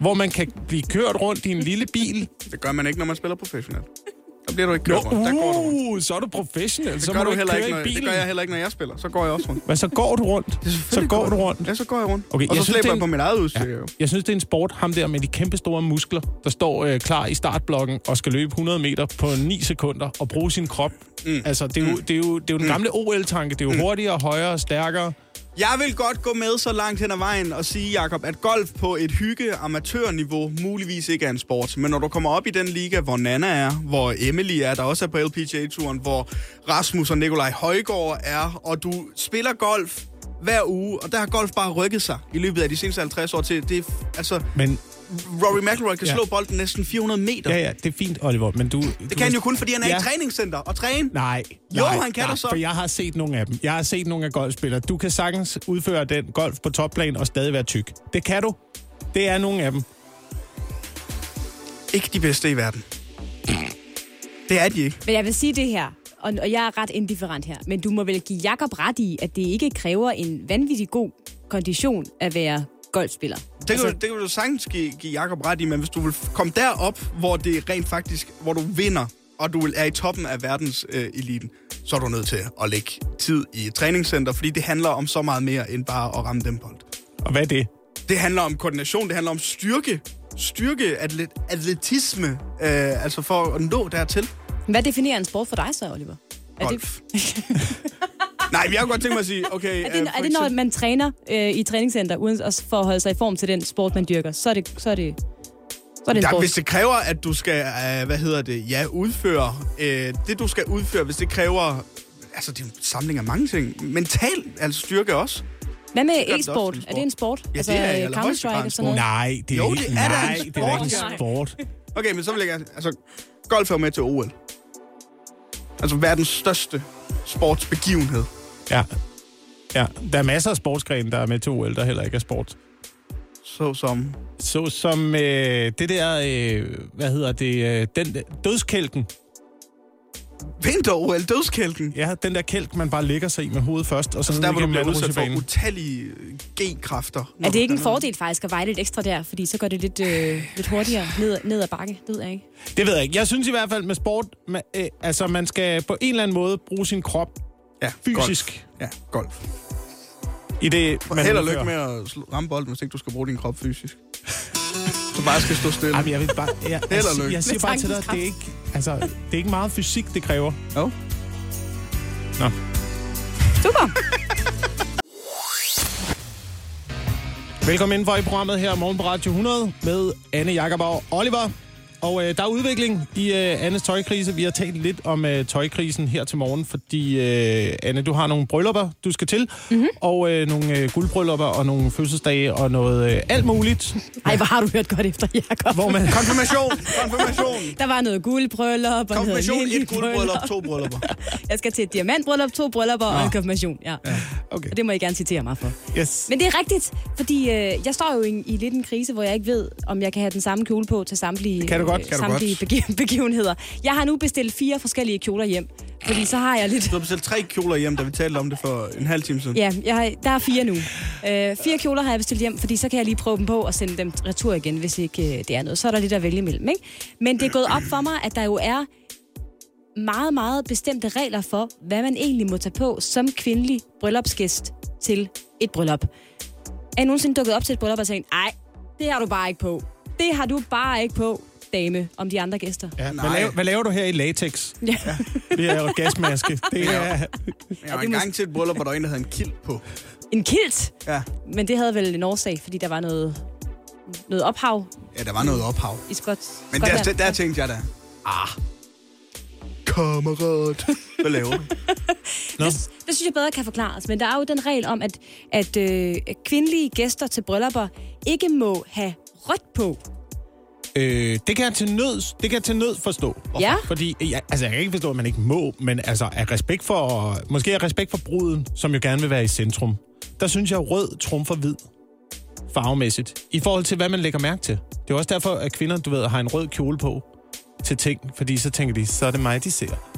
Hvor man kan blive kørt rundt i en lille bil. Det gør man ikke, når man spiller professionelt. Der bliver du ikke Nå, kørt rundt. Der går du rundt. uh, så er du professionel. Det så gør må du du ikke heller køre ikke, når, i bilen. det gør jeg heller ikke, når jeg spiller. Så går jeg *laughs* også rundt. Men så går du rundt. Så går du rundt. Ja, så går jeg rundt. Okay, og jeg så synes, slæber det er jeg en- på mit eget udstyr. Ja. jo. Jeg synes, det er en sport, ham der med de kæmpe store muskler, der står øh, klar i startblokken og skal løbe 100 meter på 9 sekunder og bruge sin krop. Mm. Altså, det er, jo, det, er jo, det er Mm. jo den gamle OL-tanke. Det er jo hurtigere, højere, stærkere. Jeg vil godt gå med så langt hen ad vejen og sige, Jakob, at golf på et hygge amatørniveau muligvis ikke er en sport. Men når du kommer op i den liga, hvor Nana er, hvor Emily er, der også er på LPGA-turen, hvor Rasmus og Nikolaj Højgaard er, og du spiller golf hver uge, og der har golf bare rykket sig i løbet af de seneste 50 år til. Det er, f- altså, Men Rory McIlroy kan Ja. ja. slå bolden næsten 400 meter. ja, ja, det er fint, Oliver, men du... Det kan han jo kun, fordi han er ja. i et træningscenter og træne. Nej. Jo, nej, han kan nej, da så. For jeg har set nogle af dem. Jeg har set nogle af golfspillere. Du kan sagtens udføre den golf på topplan og stadig være tyk. Det kan du. Det er nogle af dem. Ikke de bedste i verden. Det er de ikke. Men jeg vil sige det her, og, og jeg er ret indifferent her, men du må vel give Jakob ret i, at det ikke kræver en vanvittig god kondition at være golfspiller. Det kan, altså, det kan du sagtens give, give Jacob ret i, men hvis du vil f- komme derop, hvor det rent faktisk, hvor du vinder, og du er i toppen af verdens øh, eliten, så er du nødt til at lægge tid i et træningscenter, fordi det handler om så meget mere end bare at ramme den bold. Og hvad er det? Det handler om koordination, det handler om styrke, styrke, atlet, atletisme, øh, altså for at nå dertil. Hvad definerer en sport for dig så, Oliver? Er Golf. *laughs* Nej, men jeg kunne godt tænke mig at sige, okay... Er det, øh, for er det når eksempel- man træner øh, i træningscenter, uden at for at holde sig i form til den sport, man dyrker, så er det, så er det, så er det en Ja, sport? hvis det kræver, at du skal, øh, hvad hedder det, ja, udføre øh, det, du skal udføre, hvis det kræver, altså det er en samling af mange ting, mental altså styrke også. Hvad med det også e-sport? til en Er det en sport? Ja, det er i øh, allerhøjeste grad en Counter-Strike og sådan noget? Nej, det er Jo, ikke, det er da en nej, det er da ikke en sport. Okay, men så vil jeg gerne, altså golf er jo med til OL. Altså verdens største sportsbegivenhed. Ja. Ja, der er masser af sportsgrene, der er med til OL, der heller ikke er sport. Så som... Så som øh, det der, øh, hvad hedder det, øh, den dødskælken. Vinter-OL, dødskælken. Ja, Ja, den der kælk, man bare ligger sig i med hovedet først, og så altså der, hvor du bliver udsat for banen. utallige øh, G-kræfter. når Er det du ikke en danner- fordel faktisk at veje lidt ekstra der, fordi så går det lidt, øh, lidt hurtigere ned, ned ad bakke? Det ved jeg *laughs* ikke. Det ved jeg ikke. Jeg synes i hvert fald med sport, man, øh, altså man skal på en eller anden måde bruge sin krop Ja, fysisk Golf. Ja, golf. i det, Men held og udfører. lykke med at slå- ramme bolden, hvis ikke du skal bruge din krop fysisk. *laughs* Du bare skal stå stille. Jamen, jeg vil bare, jeg, jeg, og jeg, lykke. jeg siger Med bare til dig, tankens at det er ikke, altså, det er ikke meget fysik, det kræver. Jo. Nå. Super! Velkommen indenfor i programmet her morgen på Radio 100 med Anne Jakob og Oliver. Og øh, der er udvikling i øh, Annes tøjkrise. Vi har talt lidt om øh, tøjkrisen her til morgen, fordi øh, Anne, du har nogle bryllupper, du skal til. Mm-hmm. Og øh, nogle øh, guldbryllupper og nogle fødselsdage og noget øh, alt muligt. Ej, hvor har du hørt godt efter, Jacob. Hvor man, Konfirmation! Konfirmation! Der var noget guldbryllup og noget Konfirmation, et almindeligt guldbryllup, bryllup. to *laughs* bryllupper. Jeg skal til et diamantbryllup, to bryllupper og en konfirmation. Ja. ja. okay. Og det må I gerne citere mig for. Yes. Men det er rigtigt, fordi øh, jeg står jo i, i lidt en krise, hvor jeg ikke ved, om jeg kan have den samme kjole på til samtlige, kan du godt, øh, kan du samtlige begi- begivenheder. Jeg har nu bestilt fire forskellige kjoler hjem, fordi så har jeg lidt... Du har bestilt tre kjoler hjem, da vi talte om det for en halv time siden. Ja, jeg har, der er fire nu. Øh, fire kjoler har jeg bestilt hjem, fordi så kan jeg lige prøve dem på og sende dem retur igen, hvis ikke øh, det er noget. Så er der lidt at vælge imellem, ikke? Men det er gået op for mig, at der jo er meget, meget bestemte regler for, hvad man egentlig må tage på som kvindelig bryllupsgæst til et bryllup. Er I nogensinde dukket op til et bryllup og tænkt, nej, det har du bare ikke på. Det har du bare ikke på. dame om de andre gæster. Ja, hvad, Nej. laver, hvad laver du her i latex? Ja. Vi er jo gasmaske. Det er... Jeg var engang til et bryllup, hvor der var en, der havde en kilt på. En kilt, Ja. men det havde vel en årsag, fordi der var noget, noget ophav ja, der var noget ophav. i Skot. Men der, Skotland. der, der tænkte jeg da, ah, kammerat, hvad laver du? Det, det synes jeg bedre kan forklares, men der er jo den regel om, at, at øh, kvindelige gæster til bryllupper ikke må have rødt på. Øh, det kan jeg til nød, det kan jeg til nød forstå. Ja. Fordi, ja, altså, jeg kan ikke forstå, at man ikke må, men altså, af respekt for, måske af respekt for bruden, som jo gerne vil være i centrum, der synes jeg, at rød trumfer hvid farvemæssigt, i forhold til, hvad man lægger mærke til. Det er også derfor, at kvinder, du ved, har en rød kjole på til ting, fordi så tænker de, så er det mig, de ser.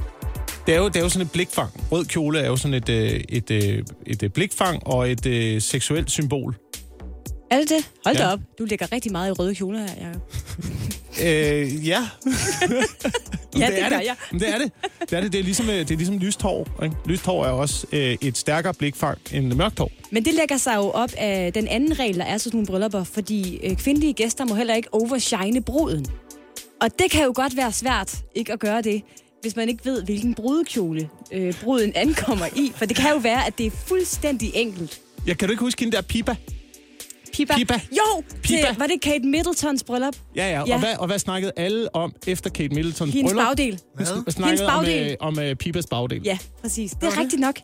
Det er jo, det er jo sådan et blikfang. Rød kjole er jo sådan et, øh, et, et, et, et blikfang og et, et seksuelt symbol. Er det det? Hold da Ja. op. Du ligger rigtig meget i røde kjoler her, Jacob. Øh, ja. Ja, det gør jeg. Men det er det. Det er det. Det er ligesom, øh, det er ligesom lyst hår. Ikke? Lyst hår er også øh, et stærkere blikfang end mørkt hår. Men det lægger sig jo op af den anden regel, der er til sådan nogle bryllupper, fordi øh, kvindelige gæster må heller ikke overshine bruden. Og det kan jo godt være svært ikke at gøre det, hvis man ikke ved, hvilken brudekjole øh, bruden ankommer i. For det kan jo være, at det er fuldstændig enkelt. Jeg kan du ikke huske hende der Pipa? Pipa. Pipa. Jo, Pipa. Til, var det Kate Middletons bryllup? Ja, ja. ja. Ja. Og, hvad, og hvad snakkede alle om efter Kate Middletons Hendes bryllup? bagdel. Hun snakkede Hendes bagdel. om, øh, om øh, Pipas bagdel. Ja, præcis. Det er rigtigt nok.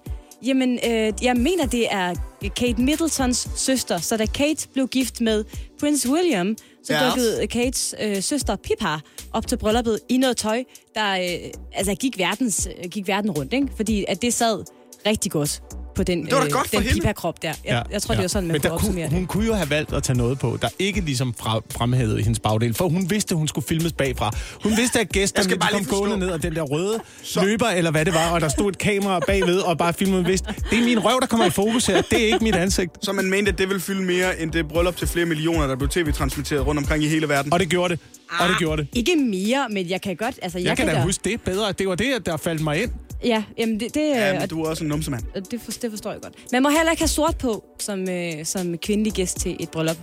Jamen, øh, jeg mener, det er Kate Middletons søster. Så da Kate blev gift med Prince William, så Ja. ja. dukkede Kates øh, søster Pippa op til brylluppet i noget tøj, der øh, altså, gik, verdens, øh, gik verden rundt. Ikke? Fordi at det sad rigtig godt på den, øh, Det var da godt for den hende. Pippa-krop der. Jeg, jeg tror, det var sådan, man Men der kunne opsummere kunne, det. hun kunne jo have valgt at tage noget på, der ikke ligesom fra, fremhævede hendes bagdel, for hun vidste, hun skulle filmes bagfra. Hun vidste, at Jeg skal gæsterne de bare kom lige forstå. gående ned og den der røde så. løber, eller hvad det var, og der stod et kamera bagved og bare filmede vidste, det er min røv, der kommer i fokus her, det er ikke mit ansigt. Så man mente, at det ville fylde mere end det bryllup til flere millioner, der blev tv-transmitteret rundt omkring i hele verden. Og det gjorde det. Og det gjorde det. Ikke mere, men jeg kan godt... Altså, Jeg, jeg, jeg Ah. kan da gøre- huske det bedre. Det var det, der faldt mig ind. Ja, jamen det, det, Ja, øh, men du er også en numsemand. Og Øh, Det, for, det forstår jeg godt. Man må heller ikke have sort på som, øh, som kvindelig gæst til et bryllup.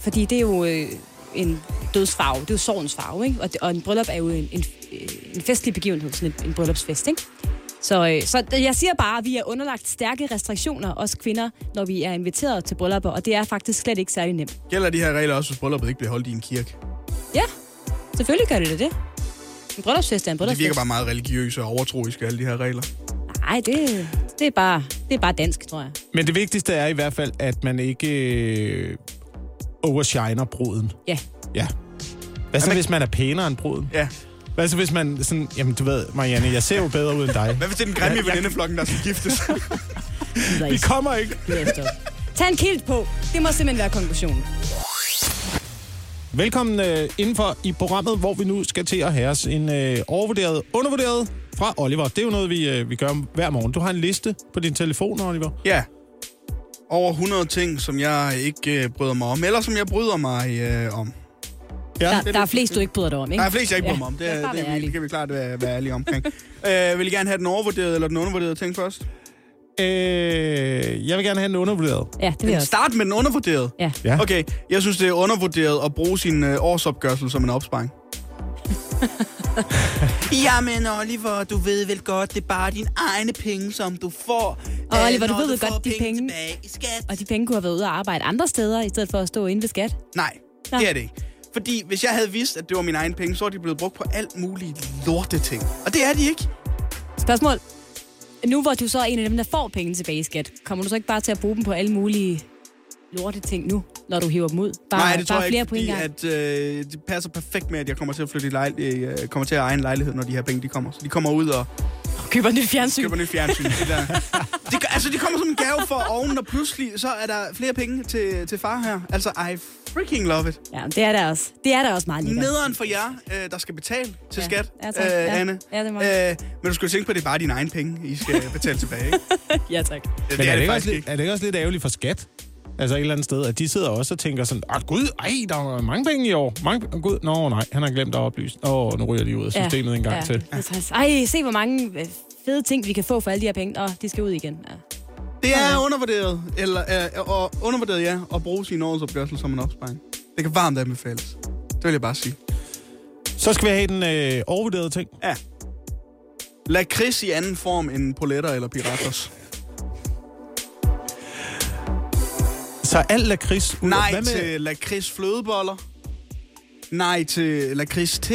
Fordi det er jo øh, en dødsfarve. Det er jo sorgens farve, ikke? Og, det, og en bryllup er jo en, en, øh, en festlig begivenhed, sådan en, en bryllupsfest, ikke? Så, øh, så jeg siger bare, at vi er underlagt stærke restriktioner, os kvinder, når vi er inviteret til bryllupper, og det er faktisk slet ikke særlig nemt. Gælder de her regler også, hvis brylluppet ikke bliver holdt i en kirke? Ja, selvfølgelig gør det da det. En bryllupsfest er en Det bryllupsfest. virker bare meget religiøse og overtroiske, alle de her regler. Nej, det, det, er bare, det er bare dansk, tror jeg. Men det vigtigste er i hvert fald, at man ikke øh, overshiner bruden. Ja. Ja. Hvad så, hvis man er pænere end bruden? Ja. Hvad så, hvis man sådan... Jamen, du ved, Marianne, jeg ser jo bedre ud end dig. Hvad hvis det er den grimme i venindeflokken, der skal giftes? Vi kommer ikke. Læst op. Tag en kilt på. Det må simpelthen være konklusionen. Velkommen øh, indenfor i programmet, hvor vi nu skal til at have os en øh, overvurderet, undervurderet fra Oliver. Det er jo noget, vi, øh, vi gør hver morgen. Du har en liste på din telefon, Oliver. *laughs* ja. Over 100 ting, som jeg ikke øh, bryder mig om, eller som jeg bryder mig øh, om. Ja, Der, der er flest, du ikke bryder dig om, ikke? Der er flest, jeg ikke bryder Ja, mig om. Det, lad os er, bare det, være det, det ærlige. kan vi klart være, være ærlige omkring. *laughs* øh, vil I gerne have den overvurderede eller den undervurderede ting først? Øh, jeg vil gerne have den undervurderet. Ja, det vil jeg også. Start med den undervurderede. Ja. Ja. Okay, jeg synes, det er undervurderet at bruge sin øh, årsopgørsel som en opsparing. *laughs* Jamen, Oliver, du ved vel godt, det er bare dine egne penge, som du får. Og øh, Oliver, du når ved du vel får godt, de penge penge- tilbage i skat. Og de penge kunne have været ude og arbejde andre steder, i stedet for at stå inde ved skat. Nej, Nå. det er det ikke. Fordi hvis jeg havde vidst, at det var mine egne penge, så var de blevet brugt på alt muligt lorteting. Og det er de ikke. Spørgsmål. Nu hvor du så er en af dem, der får penge tilbage i skat, kommer du så ikke bare til at bruge dem på alle mulige lorte ting nu, når du hiver dem ud? Bare, Nej, det tror bare jeg flere ikke, på en fordi gang. at, øh, det passer perfekt med, at jeg kommer til at flytte i lejl- øh, kommer til at eje en lejlighed, når de her penge de kommer. Så de kommer ud og *laughs* Køber nyt fjernsyn. køber nyt fjernsyn. Det der. Det, gør- altså, det kommer som en gave for oven, og pludselig så er der flere penge til, til far her. Altså, I freaking love it. Ja, det er der også. Det er der også meget lækkert. Nederen for jer, øh, der skal betale til Ja. skat, Ja, tak. Ja. Anne. Ja, det må øh, men du skal jo tænke på, at det er bare dine egne penge, *laughs* I skal betale tilbage. Ikke? *laughs* Ja, tak. Det, Men det er, er det det ikke også, faktisk lidt- ikke. er det ikke også lidt ærgerligt for skat? Altså et eller andet sted, at de sidder også og tænker sådan, åh gud, ej, der er mange penge i år. Mange, oh, gud, nå nej, han har glemt at oplyse. Åh, nu ryger de ud af systemet ja, en gang ja. til. Ja. det er Ej, se hvor mange øh, fede ting, vi kan få for alle de her penge. Åh, de skal ud igen. Ja. Det er undervurderet, eller, øh, og undervurderet, ja, at bruge sin årsopgørelse som en opsparing. Det kan varmt anbefales. Det vil jeg bare sige. Så skal vi have den øh, overvurderede ting. Ja. Lakrids i anden form end poletter eller piraters. Så alt lakrids... ud- Nej Hvad med til lakrids flødeboller. Nej til lakrids te.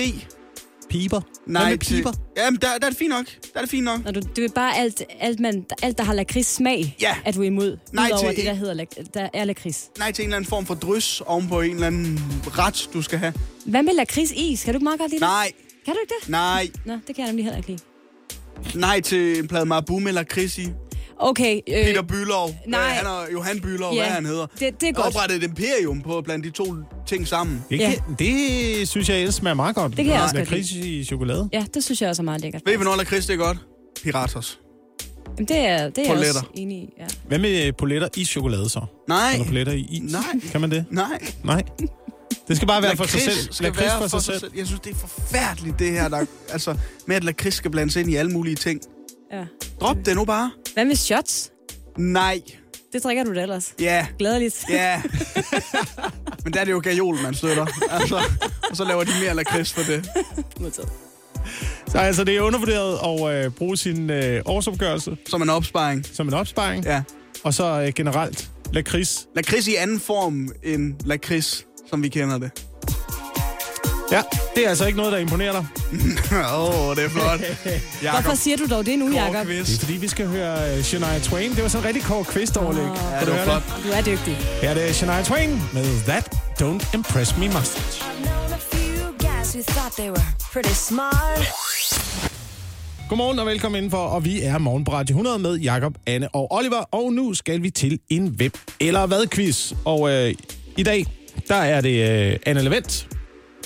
piber? Nej Hvad med til... piber? Jamen, der, der er det fint nok. Der er det fint nok. Når du, du er bare alt, alt, man, alt der har lakrids smag, Ja. at du er imod. Nej, udover til- det, der, hedder, lak- der er lakrids. Nej til en eller anden form for drys ovenpå en eller anden ret, du skal have. Hvad med lakrids i? Skal du ikke meget godt lide Nej, det? Kan du ikke det? nej, Nå, det kan jeg nemlig heller ikke lide. nej til en plade marabu med lakrids i. Okay. Øh, Peter Bylov. nej. Øh, han er Johan Bylov, Ja, hvad han hedder. det- det er Der godt. oprettet et imperium på blandt de to ting sammen. Det, Ja. ja. det synes jeg ellers smager meget godt. Det kan jeg også godt lakrids i chokolade. Ja, det synes jeg også er meget lækkert. Ved I, hvornår lakrids det er godt? Piraters. Jamen, det er, det er jeg også Poletter. enig i. Ja. Hvad med øh, poletter i chokolade så? Nej, Eller poletter i is? Nej. Kan man det? nej. Nej. Det skal bare være for sig Lakrids selv. Skal Lakrids være for sig selv. Jeg synes, det er forfærdeligt, det her, der, *laughs* altså, med at lakrids skal blandes ind i alle mulige ting. ja. Drop det nu bare. Hvad med shots? Nej. Det drikker du da ellers. Ja. Glædeligt. Ja. *laughs* Men der er det jo gajol, man støtter. Altså, og så laver de mere lakrids for det. Så altså, det er undervurderet at øh, bruge sin øh, årsopgørelse Som en opsparing. som en opsparing. Ja. Og så øh, generelt lakrids. Lakrids i anden form end lakrids, som vi kender det. Ja, det er altså ikke noget, der imponerer dig. Mm. *laughs* Åh, oh, det er *laughs* flot. Hvorfor Jakob siger du dog det nu, Jacob? Det er fordi, vi skal høre øh, Shania Twain. Det var sådan en rigtig kort quiz-overlæg. Oh. Ah. Ja, det var flot. Du er dygtig. Her er det Shania Twain med That Don't Impress Me Much. known a few guys who thought they were pretty smart. Godmorgen og velkommen indenfor, og vi er Morgenbræt 100 med Jakob, Anne og Oliver. Og nu skal vi til en hvem eller hvad quiz. Og øh, i dag, der er det øh, Anne Levent,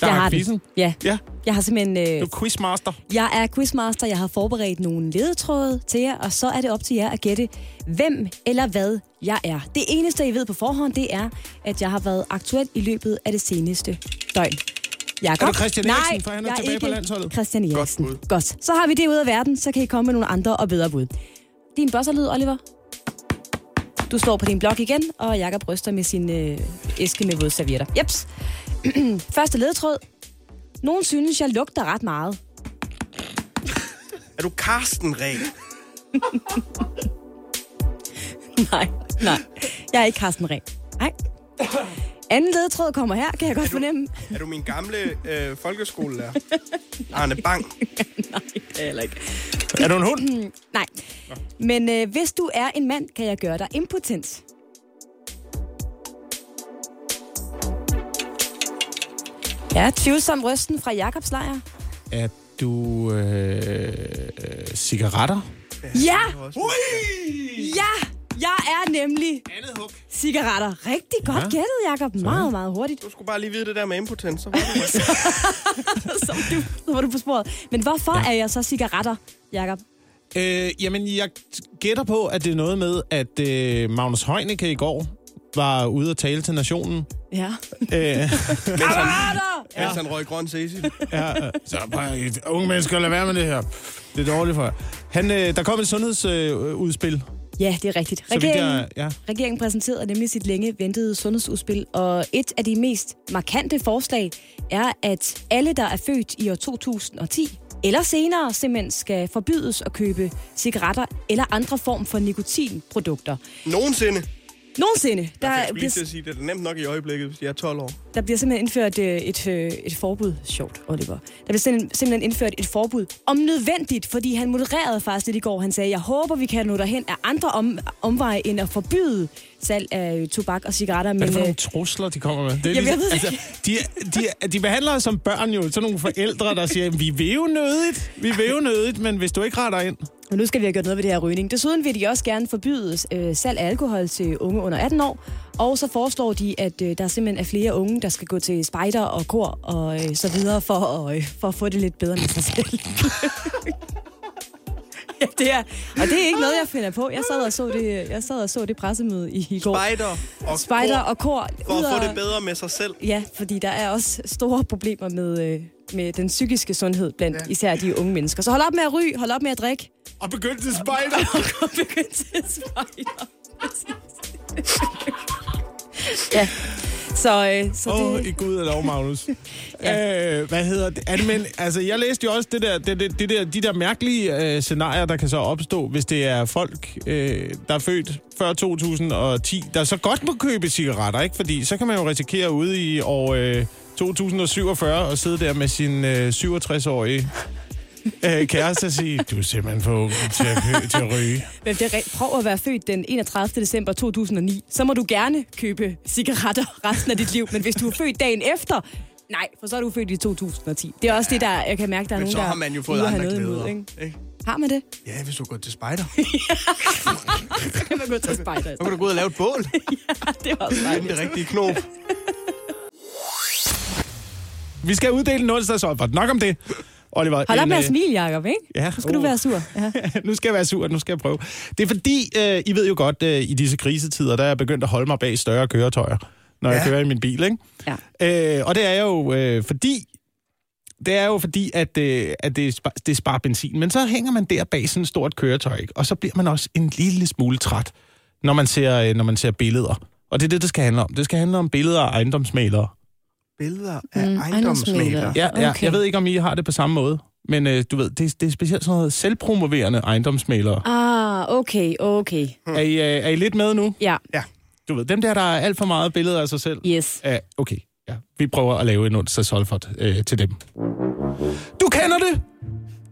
der Jeg har har det. quizzen. Ja. Ja, Jeg har simpelthen... Øh, du er quizmaster. jeg er quizmaster, jeg har forberedt nogle ledetråde til jer, og så er det op til jer at gætte, hvem eller hvad jeg er. Det eneste, I ved på forhånd, det er, at jeg har været aktuel i løbet af det seneste døgn. Jakob? Er du Christian Nej, Eriksen, for han er jeg tilbage ikke på landsholdet? Christian Eriksen. Godt, Godt. Så har vi det ude af verden, så kan I komme med nogle andre og bedre bud. Din bosserlyd, Oliver. Du står på din blok igen, og Jakob ryster med sin øh, æske med våde servietter. Jeps. *clears throat* Første ledetråd. Nogen synes, jeg lugter ret meget. Er du Karsten Ræ? *laughs* Nej, nej. Jeg er ikke Carsten Ring. Nej. Anden ledetråd kommer her, kan jeg godt fornemme. Er du min gamle øh, folkeskolelærer? Arne Bang. nej, det er heller ikke. Er du en hund? Nej. Men øh, hvis du er en mand, kan jeg gøre dig impotent. Ja, tvivlsom rysten fra Jakobs lejr. Er du øh, øh, cigaretter? Ja! Ja! Jeg er nemlig cigaretter. Rigtig godt Ja. gættet, Jakob. Meget, meget hurtigt. Du skulle bare lige vide det der med impotens, så var du Så, var du, så var du på sporet. Men hvorfor ja. er jeg så cigaretter, Jakob? Øh, jamen, jeg gætter på, at det er noget med, at øh, Magnus Heunicke i går var ude og tale til *laughs* nationen. Ja. Øh, *laughs* Cigaretter! mens han røg grøn Cecil. Ja, øh, så bare, øh, unge mennesker, lad være med det her. Det er dårligt for jer. Han, øh, der kom et sundhedsudspil. Ja, det er rigtigt. så vidt Regeringen, jeg, ja. regeringen præsenterede nemlig sit længe ventede sundhedsudspil, og et af de mest markante forslag er, at alle, der er født i år 2010 eller senere, simpelthen skal forbydes at købe cigaretter eller andre form for nikotinprodukter. Nogensinde. Nogensinde, der, Lige til bliver, at sige, det er nemt nok i øjeblikket, hvis jeg er 12 år. der bliver simpelthen indført øh, et, øh, et forbud. Sjovt, Oliver. Der bliver simpelthen- simpelthen indført et forbud om nødvendigt, fordi han modererede faktisk lidt i går. Han sagde, jeg håber, vi kan nå derhen af andre om, omveje end at forbyde salg af øh, tobak og cigaretter. Hvad er Men, det for nogle øh, trusler, de kommer med? Det er ligesom- altså, Jamen, jeg ved det de, de, de behandler os som børn jo. Sådan nogle forældre, der siger, vi vil jo nødigt, vi vil jo nødigt, men hvis du ikke retter ind... og nu skal vi have gjort noget ved det her rygning. Desuden vil de også gerne forbyde øh, salg af alkohol til unge under 18 år. Og så foreslår de, at øh, der simpelthen er flere unge, der skal gå til spejder og kor og øh, så videre for, at, øh, for at få det lidt bedre med sig selv. *laughs* ja, det er, og det er ikke noget, jeg finder på. Jeg sad og så det, jeg sad og så det pressemøde i, i går. Spider og Spejder og kor. For ud at få og- det bedre med sig selv. Ja, fordi der er også store problemer med, øh, med den psykiske sundhed blandt ja. især de unge mennesker. Så hold op med at ryge, hold op med at drikke. Og begyndte til spejder. og kom begynd til at spejle. ja. Så, øh, så Åh, oh, det... i Gud er lov, *laughs* Magnus. ja. øh, hvad hedder det? Anmeld, altså, jeg læste jo også det der, det, det, det der, de der mærkelige øh, scenarier, der kan så opstå, hvis det er folk, øh, der er født før 2010, der så godt må købe cigaretter, ikke? Fordi så kan man jo risikere ude i år øh, 2047 og sidde der med sin øh, 67-årige øh, kæreste og sige, du er simpelthen for ung til at, kø- til at ryge. Men det er, rent- prøv at være født den 31. december 2009. Så må du gerne købe cigaretter resten af dit liv. Men hvis du er født dagen efter, nej, for så er du født i 2010. Det er også det, der jeg kan mærke, der er Men nogen, så der... har man jo fået ude at have andre noget imod, glæder. ikke? ikke? Har man det? Ja, hvis du går til spejder. Så kan man gå til *laughs* spejder. Så kan du gå ud og lave et bål. det er også Finde det rigtige knop. Vi skal uddele en onsdagsoffer. Nok om det. Oliver, Hold op en, med at øh, smile, Jacob, ikke? Ja. Nu skal du Uh. være sur. Ja. nu skal jeg være sur, nu skal jeg prøve. Det er fordi, øh, I ved jo godt, øh, i disse krisetider, der er jeg begyndt at holde mig bag større køretøjer, når ja. jeg kører i min bil, ikke? ja. Øh, og det er jeg jo øh, fordi, det er jo fordi, at, øh, at det, spar, det sparer benzin. Men så hænger man der bag sådan et stort køretøj, ikke? og så bliver man også en lille smule træt, når man ser, øh, når man ser billeder. Og det er det, det skal handle om. Det skal handle om billeder af ejendomsmalere. Billeder af Mm, mm, ejendomsmæglere. ejendomsmæglere. Ja, okay. ja, Okay. jeg ved ikke, om I har det på samme måde. Men øh, du ved, det, det er specielt sådan noget selvpromoverende ejendomsmalere. Ah, okay, okay. Er I, øh, er I lidt med nu? Ja, Du ved, dem der, der er alt for meget billeder af sig selv. yes. Ja, okay. Ja. Vi prøver at lave en onsdag Solfert øh, til dem. Du kender det!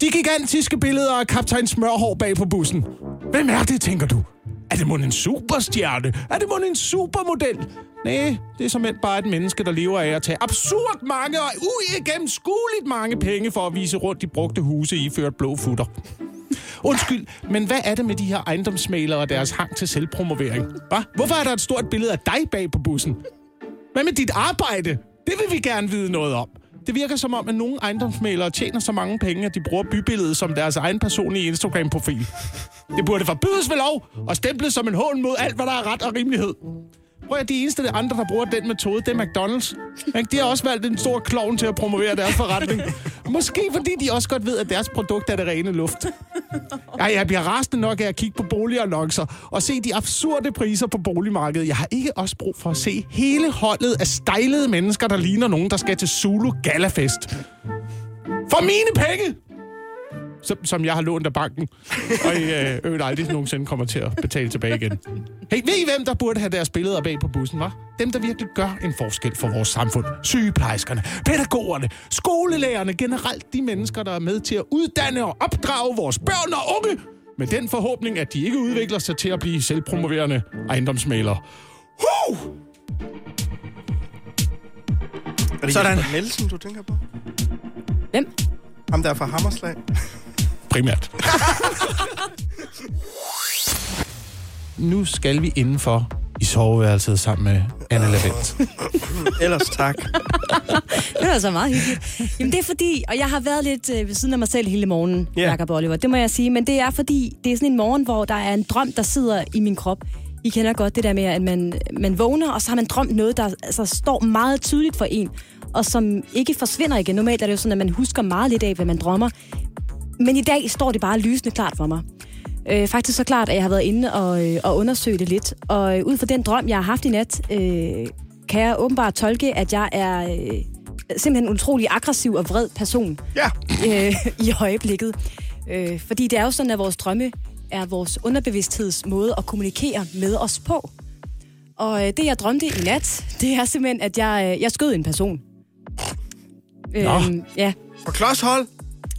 De gigantiske billeder af kaptajn Smørhår bag på bussen. Hvem er det, tænker du? Er det mon en superstjerne? Er det mon en supermodel? Nej, det er som bare et menneske, der lever af at tage absurd mange og uigennemskueligt mange penge for at vise rundt i brugte huse i ført blå futter. Undskyld, men hvad er det med de her ejendomsmalere og deres hang til selvpromovering? Hva? Hvorfor er der et stort billede af dig bag på bussen? Hvad med dit arbejde? Det vil vi gerne vide noget om. Det virker som om, at nogle ejendomsmalere tjener så mange penge, at de bruger bybilledet som deres egen personlige Instagram-profil. Det burde forbydes ved lov og stemples som en hån mod alt, hvad der er ret og rimelighed. Prøv at de eneste andre, der bruger den metode, det er McDonald's. Ikke? De har også valgt en stor klovn til at promovere deres forretning. Måske fordi de også godt ved, at deres produkt er det rene luft. Ej, jeg bliver rasende nok af at kigge på boligannoncer og se de absurde priser på boligmarkedet. Jeg har ikke også brug for at se hele holdet af stejlede mennesker, der ligner nogen, der skal til Zulu Galafest. For mine penge! Som, som jeg har lånt af banken, og i øh, øvrigt aldrig nogensinde kommer til at betale tilbage igen. Hey, ved I hvem, der burde have deres billeder bag på bussen, var? Dem, der virkelig gør en forskel for vores samfund. Sygeplejerskerne, pædagogerne, skolelærerne, generelt de mennesker, der er med til at uddanne og opdrage vores børn og unge, med den forhåbning, at de ikke udvikler sig til at blive selvpromoverende ejendomsmalere. Huh! Er det Sådan. Jesper Nielsen, du tænker på? Hvem? Ham der er fra Hammerslag. primært. nu skal vi indenfor i soveværelset sammen med Anne Lavendt. Ellers tak. *laughs* Det er altså meget hyggeligt. Jamen det er fordi, og jeg har været lidt øh, ved siden af mig selv hele morgenen, yeah. Jacob Oliver, det må jeg sige, men det er fordi, det er sådan en morgen, hvor der er en drøm, der sidder i min krop. I kender godt det der med, at man, man vågner, og så har man drømt noget, der altså, står meget tydeligt for en, og som ikke forsvinder igen. Normalt er det jo sådan, at man husker meget lidt af, hvad man drømmer. Men i dag står det bare lysende klart for mig. Øh, faktisk så klart, at jeg har været inde og, øh, og undersøge det lidt. Og øh, ud fra den drøm, jeg har haft i nat, øh, kan jeg åbenbart tolke, at jeg er øh, simpelthen en utrolig aggressiv og vred person *laughs* Ja. øh, i øjeblikket. Øh, fordi det er jo sådan, at vores drømme er vores underbevidstheds måde at kommunikere med os på. Og øh, det, jeg drømte i nat, *laughs* det er simpelthen, at jeg, øh, jeg skød en person. Øhm, Nå. ja, På klodshold.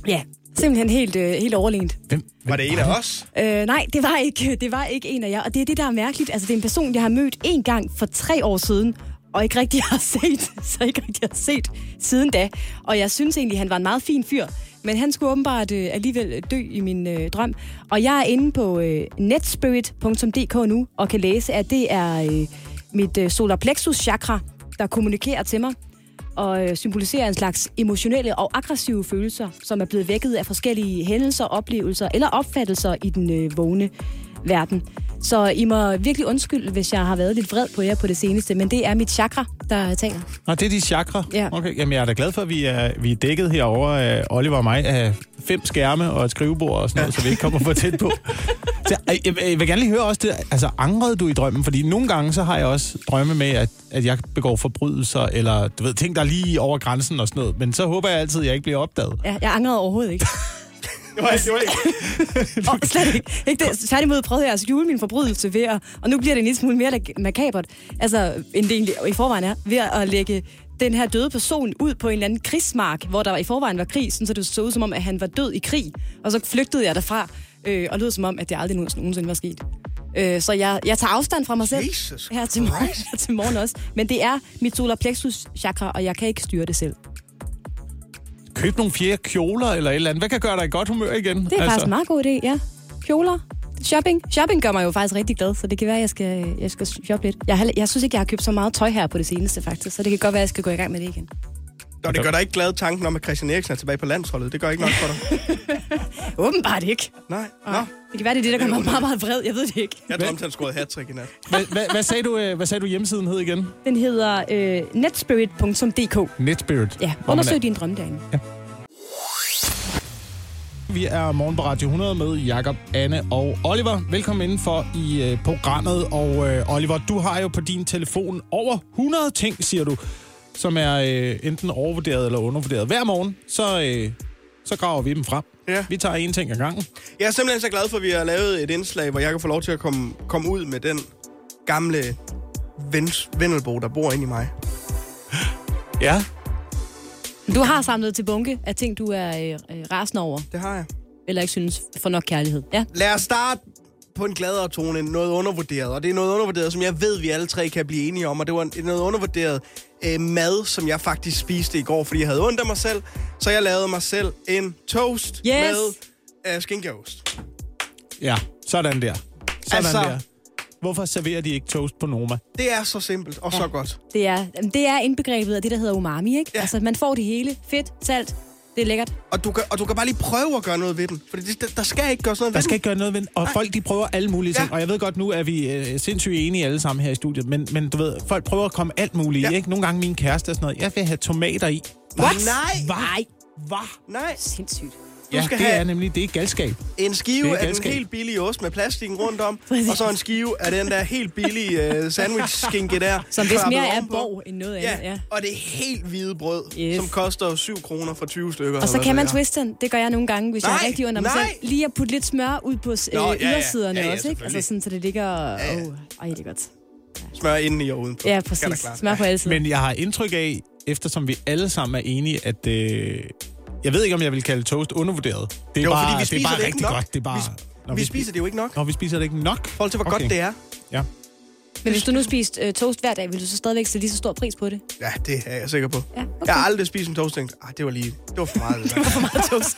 ja, simpelthen helt, øh, helt overlænt. Hvem? Var det en af os? Øh, nej, det var, ikke, det var ikke en af jer. Og det er det, der er mærkeligt. Altså, det er en person, jeg har mødt en gang for tre år siden, og ikke rigtig har set, *laughs* så ikke rigtig har set siden da. Og jeg synes egentlig, han var en meget fin fyr. Men han skulle åbenbart øh, alligevel dø i min øh, drøm. Og jeg er inde på øh, netspirit.dk nu og kan læse, at det er øh, mit øh, solar plexus chakra, der kommunikerer til mig og øh, symboliserer en slags emotionelle og aggressive følelser, som er blevet vækket af forskellige hændelser, oplevelser eller opfattelser i den øh, vågne verden. Så I må virkelig undskylde, hvis jeg har været lidt vred på jer på det seneste, men det er mit chakra, der taler. Nå, det er de chakra. Ja. Okay. Jamen, jeg er da glad for, at vi er, vi er dækket herover af Oliver og mig af fem skærme og et skrivebord og sådan noget, så vi ikke kommer for tæt på. Så, øh, jeg, jeg vil gerne lige høre også det. Altså, angrede du i drømmen? Fordi nogle gange, så har jeg også drømme med, at, at jeg begår forbrydelser, eller du ved, ting, der er lige over grænsen og sådan noget. Men så håber jeg altid, at jeg ikke bliver opdaget. Ja, jeg angrede overhovedet ikke. Og slet ikke. ikke det. Tværtimod prøvede jeg at skjule min forbrydelse ved at, og nu bliver det en lille smule mere lag- makabert, altså, end det egentlig i forvejen er, ved at lægge den her døde person ud på en eller anden krigsmark, hvor der i forvejen var krig, sådan så det så ud som om, at han var død i krig. Og så flygtede jeg derfra, øh, og lød som om, at det aldrig nogensinde nogensinde var sket. Øh, så jeg, jeg tager afstand fra mig selv Jesus her til, morgen, *laughs* her til morgen også. Men det er mit solar plexus chakra, og jeg kan ikke styre det selv. Køb nogle fjerde kjoler eller et eller andet. Hvad kan gøre dig i godt humør igen? Det er altså. faktisk en meget god idé, ja. Kjoler. Shopping. Shopping gør mig jo faktisk rigtig glad, så det kan være, at jeg skal, jeg skal shoppe lidt. Jeg, har, jeg synes ikke, jeg har købt så meget tøj her på det seneste, faktisk, så det kan godt være, at jeg skal gå i gang med det igen. Nå, det gør dig ikke glad tanken om, at Christian Eriksen er tilbage på landsholdet. Det gør ikke nok for dig. Åbenbart ikke. *laughs* Nej, Nå. nå. Det kan være, det er det, der gør mig meget, meget vred. Jeg ved det ikke. Jeg drømte, han scorede hat i nat. Hvad, hvad, hvad, sagde du, øh, hvad sagde du hjemmesiden hed igen? Den hedder øh, netspirit.dk. Netspirit. Ja, Hvor man undersøg er- din drømme derinde. Vi er morgen på Radio 100 med Jakob, Anne og Oliver. Velkommen indenfor i øh, programmet. Og øh, Oliver, du har jo på din telefon over 100 ting, siger du, som er øh, enten overvurderet eller undervurderet. Hver morgen, så, øh, så graver vi dem frem. Ja. Vi tager en ting ad gangen. Jeg er simpelthen så glad for, at vi har lavet et indslag, hvor jeg kan få lov til at komme, komme ud med den gamle vens, Vendelbo, der bor inde i mig. Ja. Du har samlet til bunke af ting, du er øh, øh, rasende over, Det har jeg. eller ikke synes for nok kærlighed. Ja, Lad os starte på en gladere tone end noget undervurderet. Og det er noget undervurderet, som jeg ved, vi alle tre kan blive enige om. Og det var en- noget undervurderet øh, mad, som jeg faktisk spiste i går, fordi jeg havde ondt af mig selv. Så jeg lavede mig selv en toast Yes. med øh, skinkeost. Ja, sådan der. Sådan altså... Altså- der. Hvorfor serverer de ikke toast på Noma? Det er så simpelt og så godt. det er, jamen, det er indbegrebet af det, der hedder umami, ikke? Ja. Altså, man får det hele. Fedt, salt, det er lækkert. Og du, kan, og du kan bare lige prøve at gøre noget ved den. For det, der, der skal ikke gøres noget Der ved skal den. ikke gøre noget ved Og folk, de prøver alle mulige ting. Ja. Og jeg ved godt, nu er vi øh, sindssygt enige alle sammen her i studiet. Men, men du ved, folk prøver at komme alt muligt. Ja. Ja. Ikke? Nogle gange min kæreste og sådan noget. Jeg vil have tomater i. What? Nej. Nej. Hvad? Nej, Sindssygt. Ja, skal det have- er nemlig, det er galskab. en Det skive er af den galskab. helt billige ost med plastikken rundt om, Præcis. og så en skive af den der helt billige øh, sandwich-skinke der. Som hvis klappet mere er ovenpå. borg end noget andet, Ja, ja. og det er helt hvide brød, Yes. yes. som koster 7 kroner for 20 stykker. Og så kan man twiste. twiste den. Det gør jeg nogle gange, hvis nej, jeg er Nej, rigtig under mig nej. selv. Lige at putte lidt smør ud på øh, ja, Nå, ja. ja, ydersiderne Ja, ja, ja, ja, også, ikke? Altså selvfølgelig. sådan, så det ligger... Ja, ja. Oh, ej, det er godt. Smør indeni og udenpå. Ja, Skal der præcis. klart. Smør på alle sider. Men jeg har indtryk af, eftersom vi alle sammen er enige, at... Øh, jeg ved ikke, om jeg vil kalde toast undervurderet. Det er Jo, bare, fordi vi det er spiser bare det ikke rigtig nok. godt. Det er bare, Vi, vi spiser det jo ikke nok. I Når vi spiser det ikke nok. forhold til, hvor okay. godt det er. Ja. Men hvis du nu spiste øh, toast hver dag, vil du så stadigvæk sætte lige så stor pris på det? Ja, det er jeg sikker på. Ja, okay. Jeg har aldrig spist en toast og tænkt, "Ah, det var lige, det var for *laughs* meget. Det, der." For meget toast.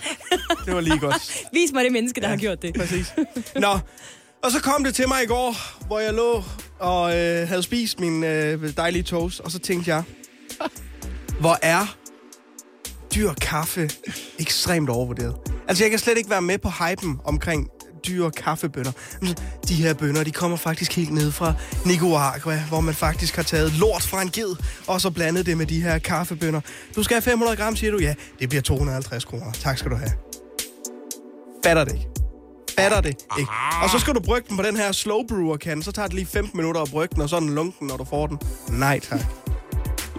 det var lige godt. Vis mig det menneske, der ja. har gjort det. Præcis. *laughs* Nå, og så kom det til mig i går, hvor jeg lå og øh, havde spist min øh, dejlige toast, og så tænkte jeg, hvor er dyr kaffe ekstremt overvurderet. Altså, jeg kan slet ikke være med på hypen omkring dyre kaffebønder. Altså, De her bønder, de kommer faktisk helt ned fra Nicaragua, hvor man faktisk har taget lort fra en ged, og så blandet det med de her kaffebønder. Du skal have 500 gram, siger du. Ja, det bliver 250 kroner. Tak skal du have. Fatter det ikke. Fatter det ikke. Og så skal du brygge den på den her slow brewer kan. Så tager det lige 15 minutter at brygge den, og så er den lunken, når du får den. Nej, tak.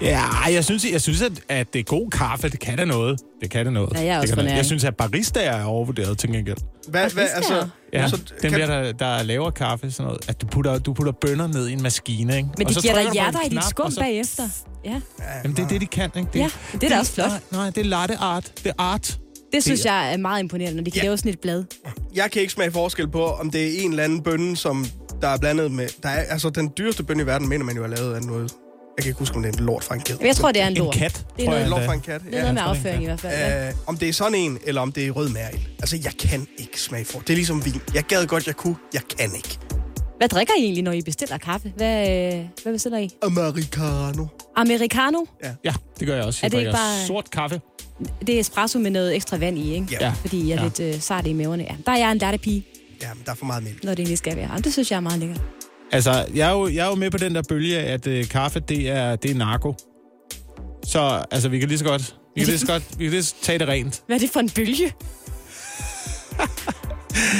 Ja, jeg synes, jeg synes at, at det er god kaffe. Det kan da noget. Det kan da noget. Ja, jeg er det også kan da- for nær. jeg synes, at barista er overvurderet til gengæld. Hvad, hvad, fisk altså, Ja, så, så, dem der, kan, der, der laver kaffe, sådan noget, at du putter, du putter bønner ned i en maskine, ikke? Men Og det så giver trykker dig du på en hjerter i dit knap, skum og så- bagefter. Ja, Jamen, det er det, de kan, ikke? Ja, det er da også flot. Nej, nej, det er latte art. Det er art. det synes jeg er meget imponerende, når de kan Ja. lave sådan et blad. jeg kan ikke smage forskel på, om det er en eller anden bønne, som der er blandet med... Der er, altså, den dyreste bønne i verden, mener man jo er lavet af noget... Jeg kan ikke huske, om det er en lort fra en ged. Men Jeg tror, det er en En lort. kat, Det tror er jeg. noget, en lort endda. fra en kat, det er ja. noget med afføring i hvert fald. Ja. Øh, om det er sådan en, eller om det er rød mærel. Altså, jeg kan ikke smage for. Det er ligesom vin. Jeg gad godt, jeg kunne. Jeg kan ikke. Hvad drikker I egentlig, når I bestiller kaffe? Hvad, øh, hvad bestiller I? Americano. Americano? Ja, det gør jeg også. Jeg Er det ikke drikker bare- Sort kaffe. Det er espresso med noget ekstra vand i, ikke? Ja. Ja. Fordi jeg er Ja. lidt øh, sart i maverne. Ja. Der er jeg en lattepige, Jamen, der er for meget mælk. når det egentlig skal være. Og det synes jeg er meget lækkert. Altså, jeg er, jo, jeg er jo med på den der bølge, at øh, kaffe, det er, det er narko. Så, altså, vi kan lige så godt... Vi kan lige så godt... Vi kan lige så tage det rent. Hvad er det for en bølge?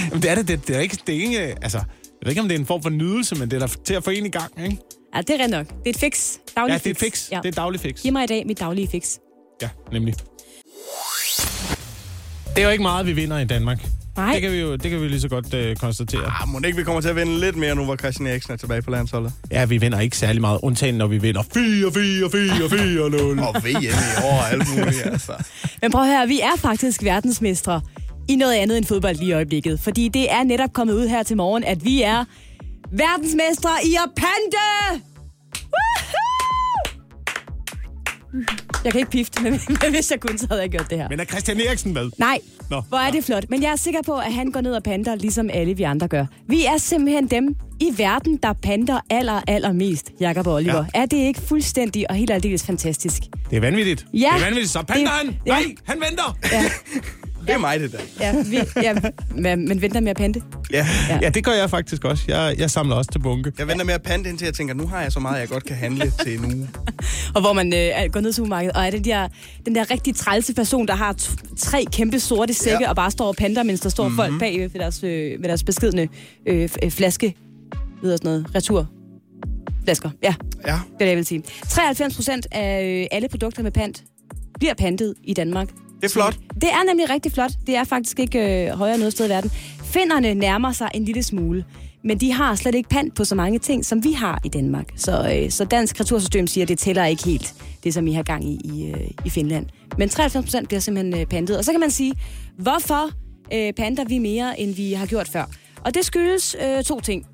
Jamen, det er det, det, det er ikke, det er ikke, øh, altså, jeg ved ikke, om det er en form for nydelse, men det er da til at få en i gang, ikke? Ja, det er rent nok. Det er et fix. Daglig Ja, det er et fix. Ja. Det er et dagligt fix. Giv mig i dag mit daglige fix. Ja, nemlig. Det er jo ikke meget, vi vinder i Danmark. Nej. Det kan vi jo det kan vi lige så godt øh, konstatere. Ah, må ikke vi kommer til at vende lidt mere nu, hvor Christian Eriksen er tilbage på landsholdet. Ja, vi vinder ikke særlig meget, undtagen når vi vinder 4-4-4-4-0. Og VM i år og alt muligt, altså. Men prøv at høre, vi er faktisk verdensmestre i noget andet end fodbold lige i øjeblikket. Fordi det er netop kommet ud her til morgen, at vi er verdensmestre i at pante! Woohoo! Jeg kan ikke pifte, *laughs* men, men hvis jeg kunne, så havde jeg gjort det her. Men er Christian Eriksen med? Nej, Nå, hvor er det flot. Men jeg er sikker på, at han går ned og panter, ligesom alle vi andre gør. Vi er simpelthen dem i verden, der panter aller, aller mest, Jakob og Oliver. Ja. Er det ikke fuldstændig og helt aldeles fantastisk? Det er vanvittigt. Ja. Det er vanvittigt. Så pander Det- han! ja. Nej, han venter! Det er mig, det der. Ja, vi, *laughs* ja men men venter med at pante. Ja. Ja. det gør jeg faktisk også. Jeg, jeg samler også til bunke. Jeg venter med at pande indtil jeg tænker, nu har jeg så meget, jeg godt kan handle til en uge. Og hvor man øh, er- går ned i supermarkedet, og er den der, den der rigtig trælse person, der har t- tre kæmpe sorte sække, ja. og bare står og panter, mens der står mm-hmm. folk bag ved deres, øh, med deres beskidende øh, f- øh, flaske, ved sådan noget, retur. Flasker, ja, det Ja. er det, jeg vil sige. 93 procent af øh, alle produkter med pant bliver pantet i Danmark. Det er flot. Det er nemlig rigtig flot. Det er faktisk ikke øh, højere noget sted i verden. Finderne nærmer sig en lille smule, men de har slet ikke pant på så mange ting, som vi har i Danmark. Så, øh, så dansk retursystem siger, at det tæller ikke helt, det som I har gang i i, øh, i Finland. Men 93 procent bliver simpelthen øh, pantet. Og så kan man sige, hvorfor øh, panter vi mere, end vi har gjort før? Og det skyldes øh, to ting.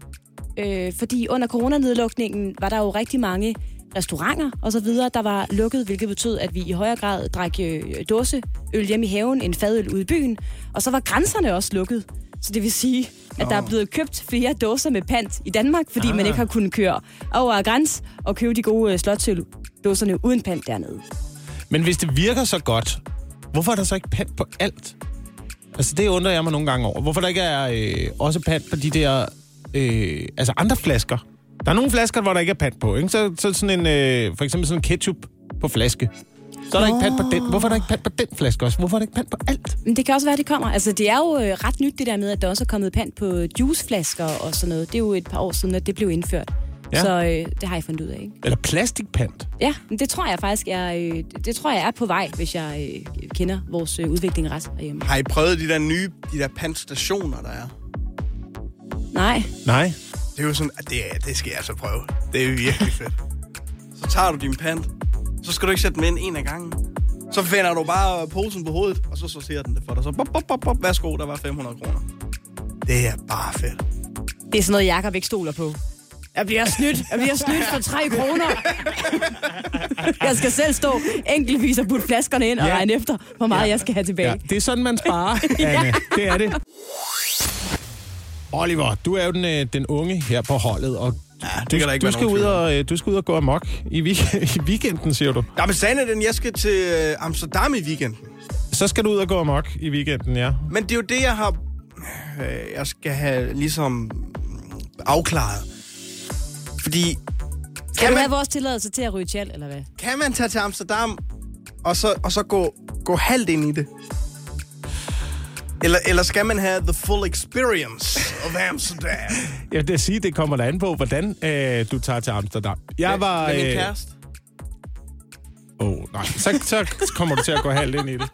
Øh, fordi under coronanedlukningen var der jo rigtig mange restauranter og så videre, der var lukket, hvilket betød, at vi i højere grad drak øh, dåseøl hjemme i haven, en fadøl ude i byen, og så var grænserne også lukket. Så det vil sige, at der er blevet købt flere dåser med pant i Danmark, fordi ah. man ikke har kunnet køre over græns og købe de gode øh, slotsøl dåserne uden pant dernede. Men hvis det virker så godt, hvorfor er der så ikke pant på alt? Altså, det undrer jeg mig nogle gange over. Hvorfor der ikke er øh, også pant på de der... Øh, altså, andre flasker. Der er nogle flasker, hvor der ikke er pant på. Ikke? Så, så sådan en, øh, for eksempel sådan en ketchup på flaske. Så er der ikke pant på den. Hvorfor er der ikke pant på den flaske også? Hvorfor er der ikke pant på alt? Men det kan også være, at det kommer. Altså, det er jo øh, ret nyt, det der med, at der også er kommet pant på juiceflasker og sådan noget. Det er jo et par år siden, at det blev indført. Ja. Ja. Så øh, det har jeg fundet ud af, ikke? Eller plastikpant. Ja, men det tror jeg faktisk er, øh, det tror jeg er på vej, hvis jeg øh, kender vores øh, udvikling ret herhjemme. Har I prøvet de der nye, de der pandstationer, der er? Nej, Nej. Det er jo sådan, at det, er- det skal jeg så prøve. Det er virkelig fedt. Så tager du din pant, så skal du ikke sætte den ind en af gangen. Så finder du bare posen på hovedet, og så sorterer den det for dig. Så bop, bop, bop, bop, værsgo, der var 500 kroner. Det er bare fedt. det er sådan noget, Jacob ikke stoler på. Jeg bliver snydt. Jeg bliver snydt for 3 *laughs* kroner. Jeg skal selv stå enkeltvis og putte flaskerne ind og Ja. regne efter, hvor meget jeg skal have tilbage. Ja, det er sådan, man sparer, *laughs* Anne. Det er det. Oliver, du er jo den, øh, den unge her på holdet, og ja, det du, kan der ikke du, være skal nogen ud tvivl om. og, øh, du skal ud og gå amok i, week- *laughs* i weekenden, siger du. Jamen, sagen er den, jeg skal til øh, Amsterdam i weekenden. Så skal du ud og gå amok i weekenden, ja. Men det er jo det, jeg har... Øh, jeg skal have ligesom afklaret. Fordi Skal du Jamen- have vores tilladelse til at ryge tjal, eller hvad? kan man tage til Amsterdam og så, og så gå, gå halvt ind i det? Eller, eller skal man have the full experience of *laughs* Amsterdam? Jeg vil sige, det kommer da an på, hvordan øh, du tager til Amsterdam. Jeg var... Med min øh, kæreste? Åh, nej. Så, så kommer du til at gå halvt ind i det.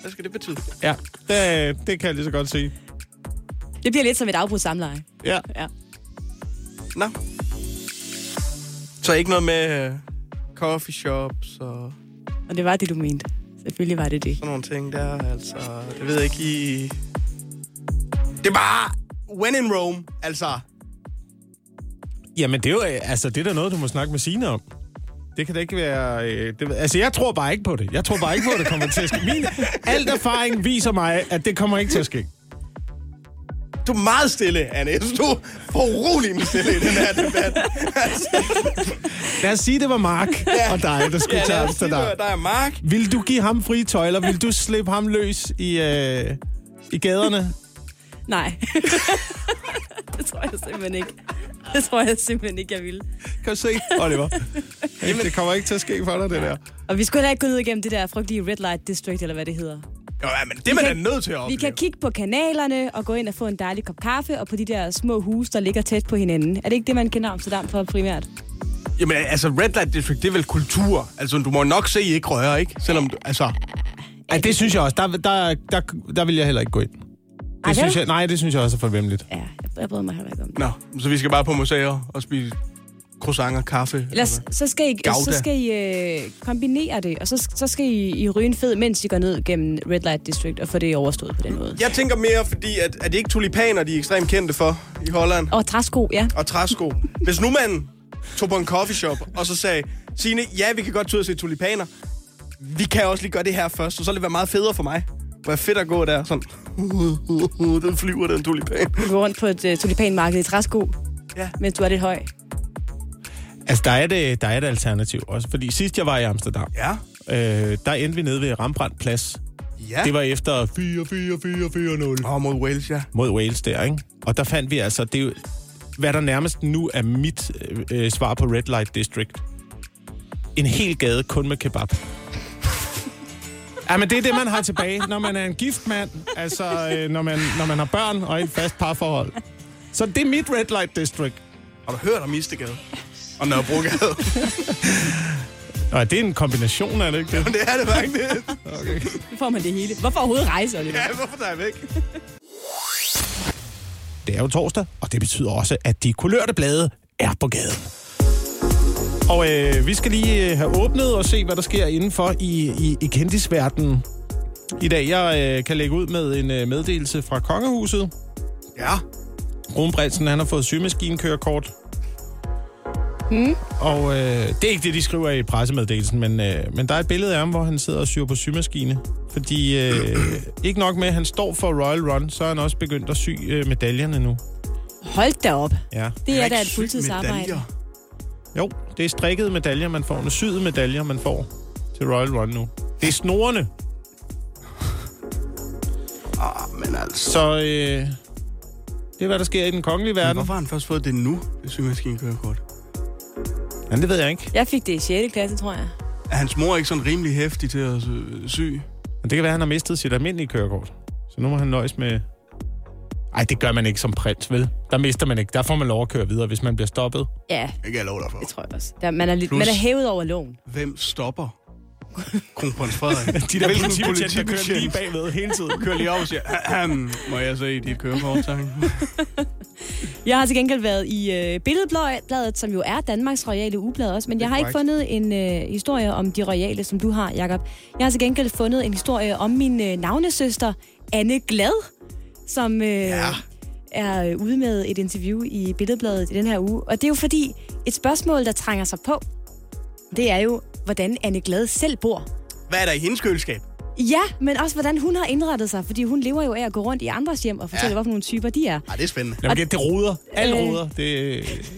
Hvad skal det betyde? Ja, det, det kan jeg lige så godt sige. Det bliver lidt som et afbrudt samleje. Ja. Ja. Nå. Så ikke noget med øh, coffee shops og Og det var det, du mente. Selvfølgelig var det det. sådan nogle ting der, altså. Det ved jeg ikke, I... Det er bare... When in Rome, altså. Jamen, det er jo, øh, altså, det er da noget, du må snakke med Signe om. Det kan da ikke være... Øh, det, altså, jeg tror bare ikke på det. Jeg tror bare ikke på, at det kommer til at ske. Min, alt erfaring viser mig, at det kommer ikke til at ske. Du er meget stille, Anne. Jeg synes, du er for rolig med stille i den her debat. Altså, Lad os sige, det var Mark og dig, der skulle ja, til lad os sige, Amsterdam. du- Der er Mark. Vil du give ham frie tøjler? Vil du slippe ham løs i, øh, i gaderne? Nej. *laughs* det tror jeg simpelthen ikke. Det tror jeg simpelthen ikke, jeg ville. Kan du se, *laughs* Oliver? Jamen. Det kommer ikke til at ske for dig, det der. Og vi skulle heller ikke gå ned igennem det der frygtelige red light district, eller hvad det hedder. Jo, ja, men det er man da kan- nødt til at Vi opleve. kan kigge på kanalerne og gå ind og få en dejlig kop kaffe, og på de der små huse, der ligger tæt på hinanden. Er det ikke det, man kender Amsterdam for primært? Jamen, altså, Red Light District, det er vel kultur. Altså, du må nok se, I ikke rører, ikke? Selvom du, altså... Ej, det synes jeg også. Der, der, der, der vil jeg heller ikke gå ind. vel? Det synes jeg, nej, det synes jeg også er forvemmeligt. Ja, jeg, jeg bryder mig heller ikke om det. Nå, så vi skal bare på museer og spise croissanter, kaffe. Ellers, så skal I, Gouda. så skal I øh, kombinere det, og så, så skal I, I ryge en fed, mens I går ned gennem Red Light District og få det overstået på den måde. Jeg tænker mere, fordi at, er det ikke tulipaner, de er ekstremt kendte for i Holland? Og træsko, ja. Og træsko. Hvis nu man tog på en coffeeshop og så sagde, Signe, ja, vi kan godt tage ud og se tulipaner. Vi kan også lige gøre det her først, og så vil det være meget federe for mig. Hvor er fedt at gå der, sådan, *laughs* uh, uh, uh, den flyver, den tulipan. Du går rundt på et øh, tulipanmarked i træsko, Ja. mens du er lidt høj. Altså, der er, det, der er et alternativ også. Fordi sidst jeg var i Amsterdam, Ja. øh, der endte vi nede ved Rembrandt Plads. Ja. Det var efter 4-4-4-4-0 Åh, oh, mod Wales, ja. mod Wales der, ikke? Og der fandt vi altså, det er jo, hvad der nærmest nu er mit øh, øh, svar på Red Light District. En hel gade kun med kebab. Ja, men det er det, man har tilbage, når man er en gift mand, altså øh, når, man, når man har børn og et fast parforhold. Så det er mit Red Light District. Har du hørt om Istegade? Og *laughs* Nørrebrogade? Nå, det er en kombination, er det ikke det? det er det faktisk. Nu får man det hele. Hvorfor overhovedet rejse, Oliver? *laughs* Ja, hvorfor der er væk? Det er jo torsdag, og det betyder også, at de kulørte blade er på gaden. Og øh, vi skal lige øh, have åbnet og se, hvad der sker indenfor i, i, i kendisverdenen. I dag, jeg øh, kan lægge ud med en øh, meddelelse fra Kongehuset. Ja. Kronprinsen, han har fået sygemaskinekørekort. Mm. Og øh, det er ikke det, de skriver i pressemeddelelsen, men, øh, men der er et billede af ham, hvor han sidder og syr på symaskine. Fordi øh, ikke nok med, at han står for Royal Run, så er han også begyndt at sy øh, medaljerne nu. Hold da op. Ja. Det er Ikke da et syg fuldtidsarbejde. medaljer. Jo, det er strikkede medaljer, man får. Nu syede medaljer, man får til Royal Run nu. Det er snorene. Men altså... Så øh, det er, hvad der sker i den kongelige verden. Hvorfor har han først fået det nu, det sygemaskinekørekort? Ja, det ved jeg ikke. Jeg fik det i 6. klasse, tror jeg. Er hans mor ikke sådan rimelig hæftig til at sy- sy? Men det kan være, at han har mistet sit almindelige kørekort. Så nu må han nøjes med... Ej, det gør man ikke som prins, vel? Der mister man ikke. Der får man lov at køre videre, hvis man bliver stoppet. Ja, Det kan jeg love dig for. det tror jeg også. Der, man, er lidt, Plus- man er hævet over loven. Hvem stopper? Kronprins *laughs* Frederik. De der Hvilken politibetjente, der politibetjent? kører lige bagved hele tiden. Kører lige op og siger, "Ahem, må jeg se dit kørekort, tak? Jeg har til gengæld været i øh, Billedbladet, som jo er Danmarks royale ugeblad også, men jeg har ikke fundet en øh, historie om de royale, som du har, Jakob. Jeg har til gengæld fundet en historie om min øh, navnesøster, Anne Glad, som øh, ja. er øh, ude med et interview i Billedbladet i den her uge. Og det er jo fordi, et spørgsmål, der trænger sig på, det er jo, hvordan Anne Glad selv bor. Hvad er der i hendes køleskab? Ja, men også hvordan hun har indrettet sig, fordi hun lever jo af at gå rundt i andres hjem og fortælle, ja. Ja. hvorfor nogle typer de er. Ej, det er spændende. Jamen, det, det ruder. Alle Øh. ruder. Det,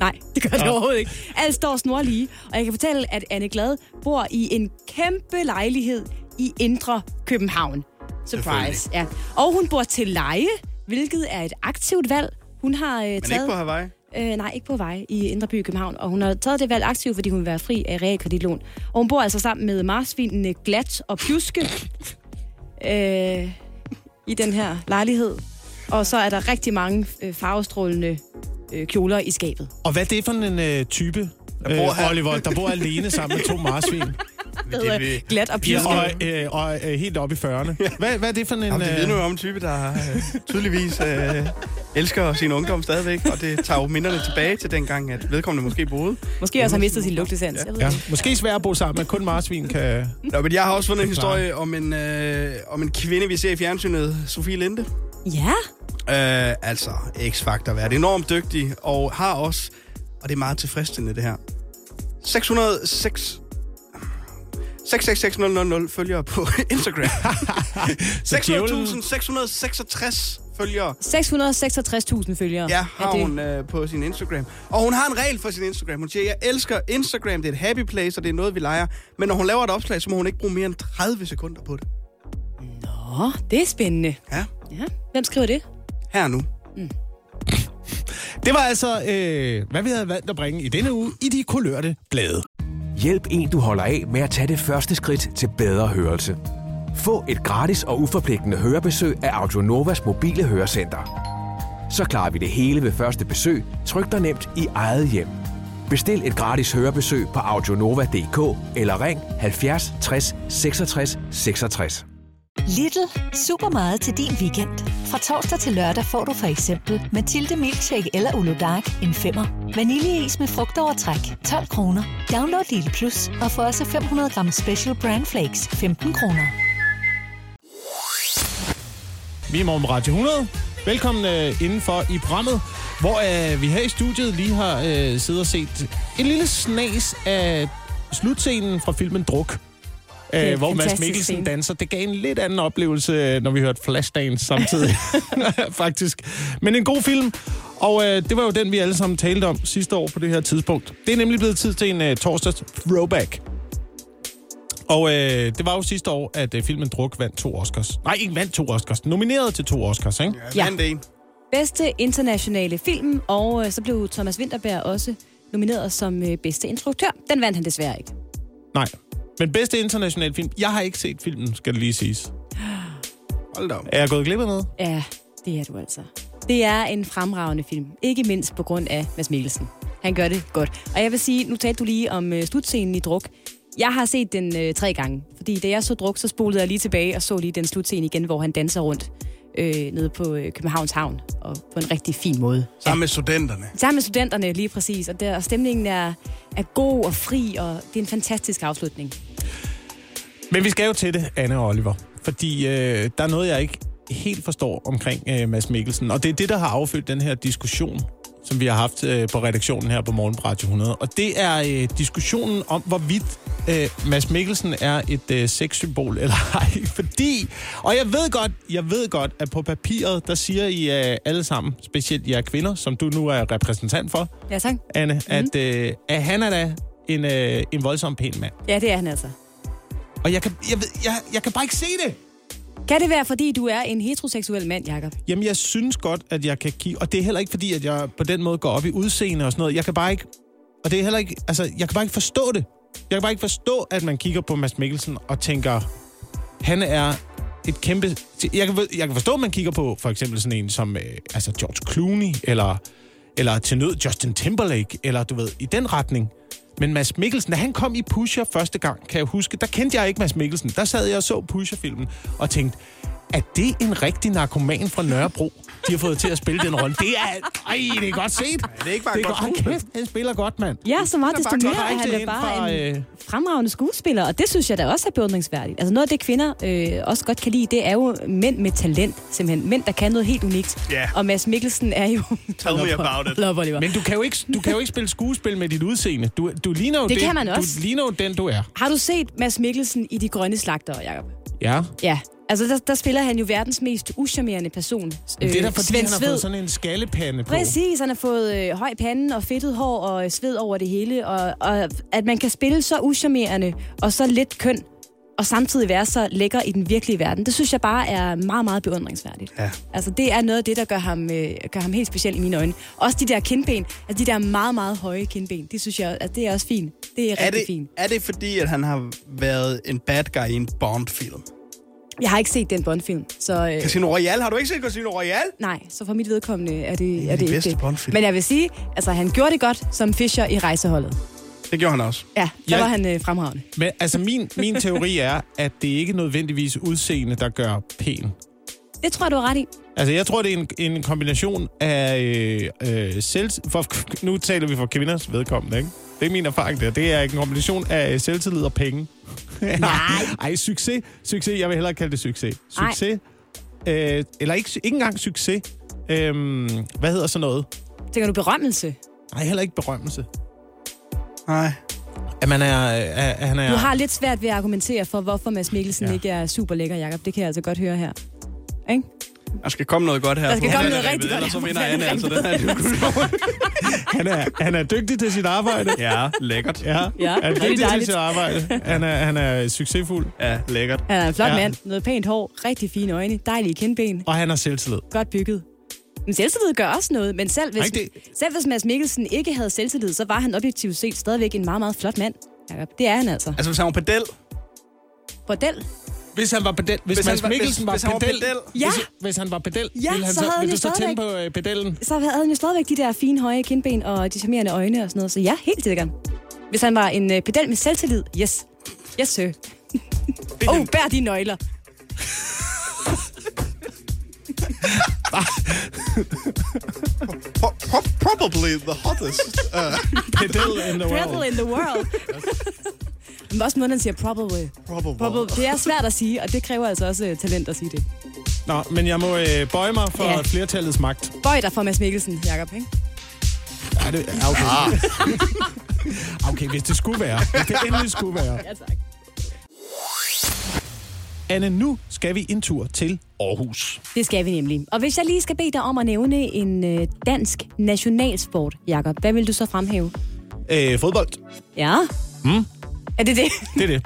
Nej, det gør det overhovedet ikke. Alt står snorlige, og jeg kan fortælle, at Anne Glad bor i en kæmpe lejlighed i Indre København. Surprise, ja. Og hun bor til leje, hvilket er et aktivt valg. Hun har øh, taget... Men ikke på Hawaii. Øh, nej, ikke på vej i Indre By i København. Og hun har taget det valg aktivt, fordi hun vil være fri af realkreditlån. Og hun bor altså sammen med marsvinene Glat og Pjuske øh, i den her lejlighed. Og så er der rigtig mange øh, farvestrålende øh, kjoler i skabet. og hvad er det for en øh, type, der bor her? øh, Oliver, der bor alene sammen med to marsvin? Det hedder vil- Glat og Pjuske. Ja, og, øh, og øh, helt op i 40'erne. Hvad, hvad er det for en... Jamen, det vidner øh, jo om en type, der øh, tydeligvis øh, elsker sin ungdom stadigvæk, og det tager jo minderne tilbage til dengang, at vedkommende måske boede. Måske også har mistet sin lugtesans. Jeg ved ja, det måske svært at bo sammen, men kun marsvin kan... Nå, men jeg har også fundet en Det er klart. historie om en, øh, om en kvinde, vi ser i fjernsynet, Sofie Linde. ikke. Ja, Øh, altså, X-Factor været enormt dygtig, og har også, og det er meget tilfredsstillende det her, 606... 666000 følgere på *laughs* *laughs* Instagram. 600.666 følgere 666.000 følgere. Ja, har er det. hun øh, på sin Instagram. Og hun har en regel for sin Instagram. Hun siger, jeg elsker Instagram, det er et happy place, og det er noget, vi leger. Men når hun laver et opslag, så må hun ikke bruge mere end 30 sekunder på det. Åh, det er spændende. Ja, Ja. Hvem skriver det? her nu. Det var altså, øh, hvad vi havde valgt at bringe i denne uge i de kulørte blade. Hjælp en, du holder af med at tage det første skridt til bedre hørelse. Få et gratis og uforpligtende hørebesøg af Audionovas mobile hørecenter. Så klarer vi det hele ved første besøg, trygt og nemt i eget hjem. Bestil et gratis hørebesøg på audionova.dk eller ring 70 60 66 66. Little super meget til din weekend. Fra torsdag til lørdag får du for eksempel Mathilde Milkshake eller Ulo Dark en femmer. Vaniljeis med frugtovertræk 12 kroner. Download Little Plus og få også 500 gram Special Brand Flakes 15 kroner. Vi er morgen på Radio 100. Velkommen øh, indenfor i programmet, hvor øh, vi her i studiet lige har øh, siddet og set en lille snas af slutscenen fra filmen Druk. Det er Øh, en hvor Mads fantastisk Mikkelsen scene. danser. Det gav en lidt anden oplevelse, øh, når vi hørte Flashdance *laughs* samtidig, faktisk. Men en god film, og øh, det var jo den, vi alle sammen talte om sidste år på det her tidspunkt. Det er nemlig blevet tid til en øh, torsdags throwback. Og øh, det var jo sidste år, at øh, filmen Druk vandt to Oscars. Nej, ikke vandt to Oscars. Nomineret til to Oscars, ikke? Ja. Vandt en. Bedste internationale film, og øh, så blev Thomas Winterberg også nomineret som øh, bedste instruktør. Den vandt han desværre ikke. Nej. Men bedste internationale film. Jeg har ikke set filmen, skal det lige siges. Hold da op. Er jeg gået glip af noget? Ja, det er du altså. Det er en fremragende film, ikke mindst på grund af Mads Mikkelsen. Han gør det godt. Og jeg vil sige, nu talte du lige om øh, slutscenen i Druk. Jeg har set den øh, tre gange, fordi da jeg så Druk, så spolede jeg lige tilbage og så lige den slutscene igen, hvor han danser rundt øh, nede på øh, Københavns Havn, og på en rigtig fin måde. Sammen med studenterne. Sammen med studenterne lige præcis, og, der, og stemningen er, er god og fri, og det er en fantastisk afslutning. Men vi skal jo til det, Anne og Oliver. Fordi øh, der er noget, jeg ikke helt forstår omkring øh, Mads Mikkelsen. Og det er det, der har affødt den her diskussion, som vi har haft øh, på redaktionen her på Morgen på Radio 100. Og det er øh, diskussionen om, hvorvidt øh, Mads Mikkelsen er et øh, sexsymbol eller *laughs* ej. Fordi, og jeg ved godt, jeg ved godt, at på papiret, der siger I øh, alle sammen, specielt jer kvinder, som du nu er repræsentant for, Ja, tak. Anne, mm. at, øh, at han er da en, øh, en voldsom pæn mand. Ja, det er han altså. Og jeg kan, jeg, ved, jeg, jeg kan bare ikke se det. Kan det være, fordi du er en heteroseksuel mand, Jakob? Jamen, jeg synes godt, at jeg kan kigge... Og det er heller ikke fordi, at jeg på den måde går op i udseende og sådan noget. Jeg kan bare ikke... Og det er heller ikke... Altså, jeg kan bare ikke forstå det. Jeg kan bare ikke forstå, at man kigger på Mads Mikkelsen og tænker, han er et kæmpe... Jeg kan, jeg kan forstå, at man kigger på for eksempel sådan en som øh, altså George Clooney, eller, eller til nød Justin Timberlake, eller du ved, i den retning. Men Mads Mikkelsen, da han kom i Pusher første gang, kan jeg huske, der kendte jeg ikke Mads Mikkelsen. Der sad jeg og så Pusher-filmen og tænkte, er det en rigtig narkoman fra Nørrebro, de har fået til at spille den rolle? Det er... Ej, det er godt set. Ja, det er ikke bare godt godt. Hold kæft, han spiller godt, mand. Ja, så meget Han er desto bare mere er han direkte da ind bare fra, en øh, fremragende skuespiller, og det synes jeg da også er beundringsværdigt. Altså noget af det, kvinder øh, også godt kan lide, det er jo mænd med talent, simpelthen. Mænd, der kan noget helt unikt. Ja. Og Mads Mikkelsen er jo... Tell me about it. Love Oliver. Men du kan, jo ikke, du kan jo ikke spille skuespil med dit udseende. Du, du ligner jo Det kan man også. Du ligner jo den, du er. Har du set Mads Mikkelsen i De Grønne Slagter, Jacob? Ja. Ja. Altså, der, der spiller han jo verdens mest uschammerende person. Øh, det er da fordi, Svend han har Sved. fået sådan en skaldepande på. Præcis, han har fået øh, høj pande og fedtet hår og øh, sved over det hele. Og, og at man kan spille så uschammerende og så lidt køn, og samtidig være så lækker i den virkelige verden, det synes jeg bare er meget, meget beundringsværdigt. Ja. Altså, det er noget af det, der gør ham, øh, gør ham helt speciel i mine øjne. Også de der kindben, altså de der meget, meget høje kindben, det synes jeg, at det er også fint. Det er, Er rigtig det, fint. er det fordi, at han har været en bad guy i en Bond-film? Jeg har ikke set den Bond-film, så... Øh, Casino Royale? Har du ikke set Casino Royale? Nej, så for mit vedkommende er det, er de det ikke bedste det. Bond-film. Men jeg vil sige, altså han gjorde det godt som Fischer i rejseholdet. Det gjorde han også. Ja, der Ja. var han øh, fremragende. Men altså, min, min teori er, at det ikke nødvendigvis udseende, der gør pæn. Det tror jeg, du har ret i. Altså, jeg tror, det er en, en kombination af øh, øh, selv... For, nu taler vi for kvinders vedkommende, ikke? Det er min erfaring der. Det er en kombination af øh, selvtillid og penge. Nej. *laughs* Ej, succes. Succes. Jeg vil hellere kalde det succes. Ej. Succes. Øh, eller ikke, ikke engang succes. Øhm, hvad hedder sådan noget? Tænker du berømmelse? Nej, heller ikke berømmelse. Nej. At man er... øh, At, at han er Du har lidt svært ved at argumentere for, hvorfor Mads Mikkelsen Ja. ja. ikke er super lækker, Jacob. Det kan jeg altså godt høre her. Ikke? Der skal komme noget godt her. Der skal på komme mandag, noget rigtig Rikke, godt Ellers så her på vinder mandag, Anne altså den *laughs* her han, er, han er dygtig til sit arbejde. Ja, lækkert. Ja, Ja, han er det er dygtig til dejligt. sit arbejde. Han er, han er succesfuld, Ja, lækkert. Han er en flot Ja. ja. mand. Noget pænt hår, rigtig fine øjne, dejlige kindben, og han har selvtillid. godt bygget. Men selvtillid gør også noget, men selv hvis, Nej, det- selv hvis Mads Mikkelsen ikke havde selvtillid, så var han objektivt set stadigvæk en meget, meget flot mand. Jacob. Det er han altså. Altså, hvis han var pedel, Bordel? Hvis han var pedel, Hvis hvis, hvis han Mads var- Mikkelsen hvis- var, hvis han var pedel, pedel. Ja. Hvis, hvis han var pedel, Ja, ville han så havde han ville jo du så tænde stadigvæk- på øh, pedellen? så havde han jo stadigvæk de der fine høje kindben og de charmerende øjne og sådan noget. Så ja, helt sikkert. Hvis han var en øh, pedel med selvtillid, yes. Yes, sir. Åh, oh, bær de nøgler. Pro- pro- probably the hottest. Uh, Ah, Pedel in the Pedal world. in the world. Men også måden, han siger probably. probably. probably. Det er svært at sige, og det kræver altså også øh, talent at sige det. Nå, men jeg må øh, bøje mig for Ja. ja. flertallets magt. Bøj dig for Mads Mikkelsen, Jacob, ikke? Ja, det, ja, okay. *laughs* okay, hvis det skulle være. Hvis det endelig skulle være. Ja, tak. Anne, nu skal vi en tur til Aarhus. Det skal vi nemlig. Og hvis jeg lige skal bede dig om at nævne en øh, dansk nationalsport, Jakob, hvad vil du så fremhæve? Øh, fodbold. Ja? Mm. Er det det? Det er *laughs* det.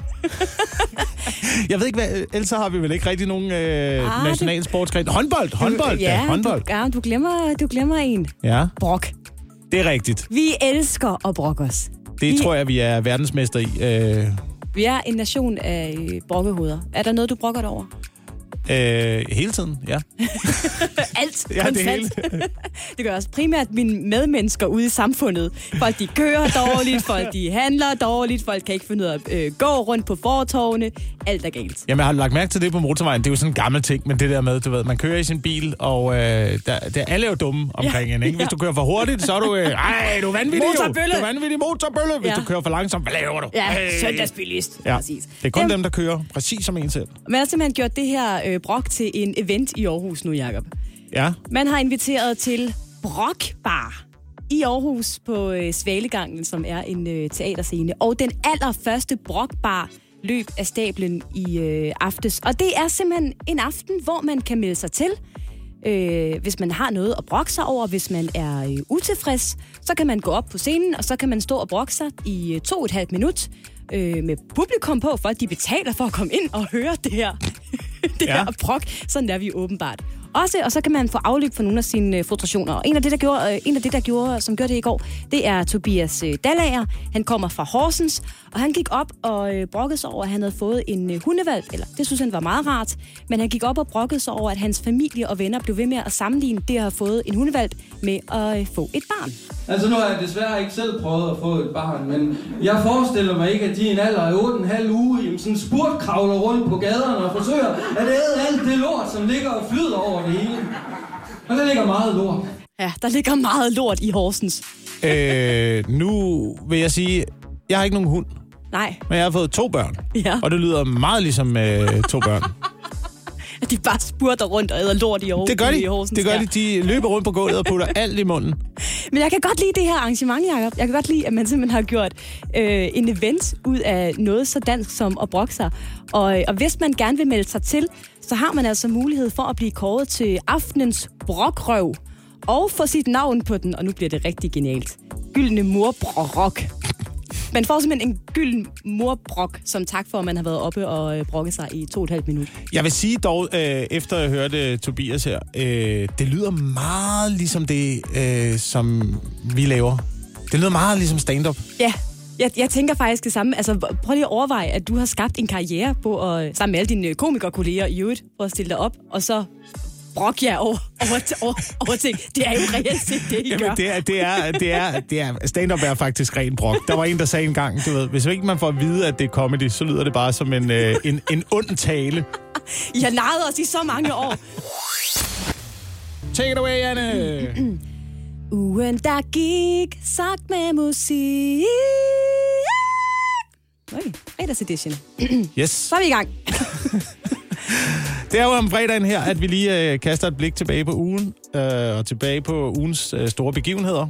jeg ved ikke, hvad, øh, ellers så har vi vel ikke rigtig nogen øh, Ah, det- nationalsportsgren. Håndbold, håndbold, ja, da, håndbold. Du, ja, du glemmer, du glemmer en. Ja, Brok. det er rigtigt. Vi elsker at brokke os. Det Vi- tror jeg, vi er verdensmester i. Øh, Vi er en nation af øh, brokkehoveder. Er der noget, du brokker dig over? øh, hele tiden, ja. Alt. Ja, det konstant. *laughs* Det gør også primært mine medmennesker ude i samfundet. Folk, de kører dårligt, folk, de handler dårligt, folk kan ikke finde ud af at øh, gå rundt på fortovene. Alt er galt. Jamen, jeg har du lagt mærke til det på motorvejen. Det er jo sådan en gammel ting, men det der med, du ved, man kører i sin bil, og øh, der, der alle er jo dumme omkring Ja, ja, en, ikke? Hvis ja. du kører for hurtigt, så er du... *laughs* Øh, Ej, du er vanvittig jo. Motorbølle. Du er vanvittig motorbølle. Hvis Ja. ja. du kører for langsomt, hvad laver du? Ja, Ej. søndagsbilist. Ja, Præcis. det er kun Jamen, dem, der kører, præcis som en selv. Man har simpelthen gjort det her øh, brok til en event i Aarhus nu, Jacob. Ja. Man har inviteret til Brokbar i Aarhus på øh, Svalegangen, som er en øh, teaterscene. Og den allerførste Brokbar løb af stablen i øh, aftes. Og det er simpelthen en aften, hvor man kan melde sig til. Øh, hvis man har noget at brokke sig over, hvis man er øh, utilfreds, så kan man gå op på scenen, og så kan man stå og brokke sig i øh, to og et halvt minut øh, med publikum på, for at de betaler for at komme ind og høre det her, *laughs* det ja. Ja. her brok. Sådan er vi åbenbart. Også, og så kan man få afløb for nogle af sine øh, frustrationer. Og en af det, der gjorde, øh, en af det, der gjorde, som gjorde det i går, det er Tobias øh, Dallager. Han kommer fra Horsens, og han gik op og øh, brokkede sig over, at han havde fået en øh, hundevalg. Eller, det synes han var meget rart. Men han gik op og brokkede sig over, at hans familie og venner blev ved med at sammenligne det at have fået en hundevalg med at øh, få et barn. Altså nu har jeg desværre ikke selv prøvet at få et barn, men jeg forestiller mig ikke, at de i en alder af 8,5 uge jamen sådan spurt kravler rundt på gaderne og forsøger at æde alt det lort, som ligger og flyder over det hele. Og der ligger meget lort. Ja, der ligger meget lort i Horsens. Øh, nu vil jeg sige, jeg har ikke nogen hund, Nej, men jeg har fået to børn. Ja. Og det lyder meget ligesom øh, to *laughs* børn. at de bare spurter rundt og æder lort i Aarhus. Det gør i de. Horsens, Det gør ja. de. De løber rundt på gulvet og putter alt i munden. Men jeg kan godt lide det her arrangement, Jacob. Jeg kan godt lide, at man simpelthen har gjort øh, en event ud af noget så dansk som at brokke sig. Og, øh, og hvis man gerne vil melde sig til, så har man altså mulighed for at blive kåret til aftenens brokrøv. Og få sit navn på den, og nu bliver det rigtig genialt. Gyldne morbrok. Man får simpelthen en gylden morbrok som tak for, at man har været oppe og øh, brokket sig i to og et halvt minut. Jeg vil sige dog, øh, efter jeg hørte Tobias her, øh, det lyder meget ligesom det, øh, som vi laver. Det lyder meget ligesom stand-up. Ja, jeg, jeg tænker faktisk det samme. Altså, hvor- prøv lige at overveje, at du har skabt en karriere på at, sammen med alle dine øh, komikerkolleger i øvrigt, for at stille dig op, og så brok jer over, over, t- over, over ting. Det er jo reelt set det, I gør. Jamen, det er, det er, det er, det er, stand-up er faktisk ren brok. Der var en, der sagde engang, du ved, hvis ikke man får at vide, at det er comedy, så lyder det bare som en, øh, en, en ond tale. I har narret os i så mange år. Take it away, Anne! Ugen, der gik, sagt med musik. Okay, fredags edition. Yes. Så er vi i gang. Det er jo om fredagen her, at vi lige øh, kaster et blik tilbage på ugen, øh, og tilbage på ugens øh, store begivenheder.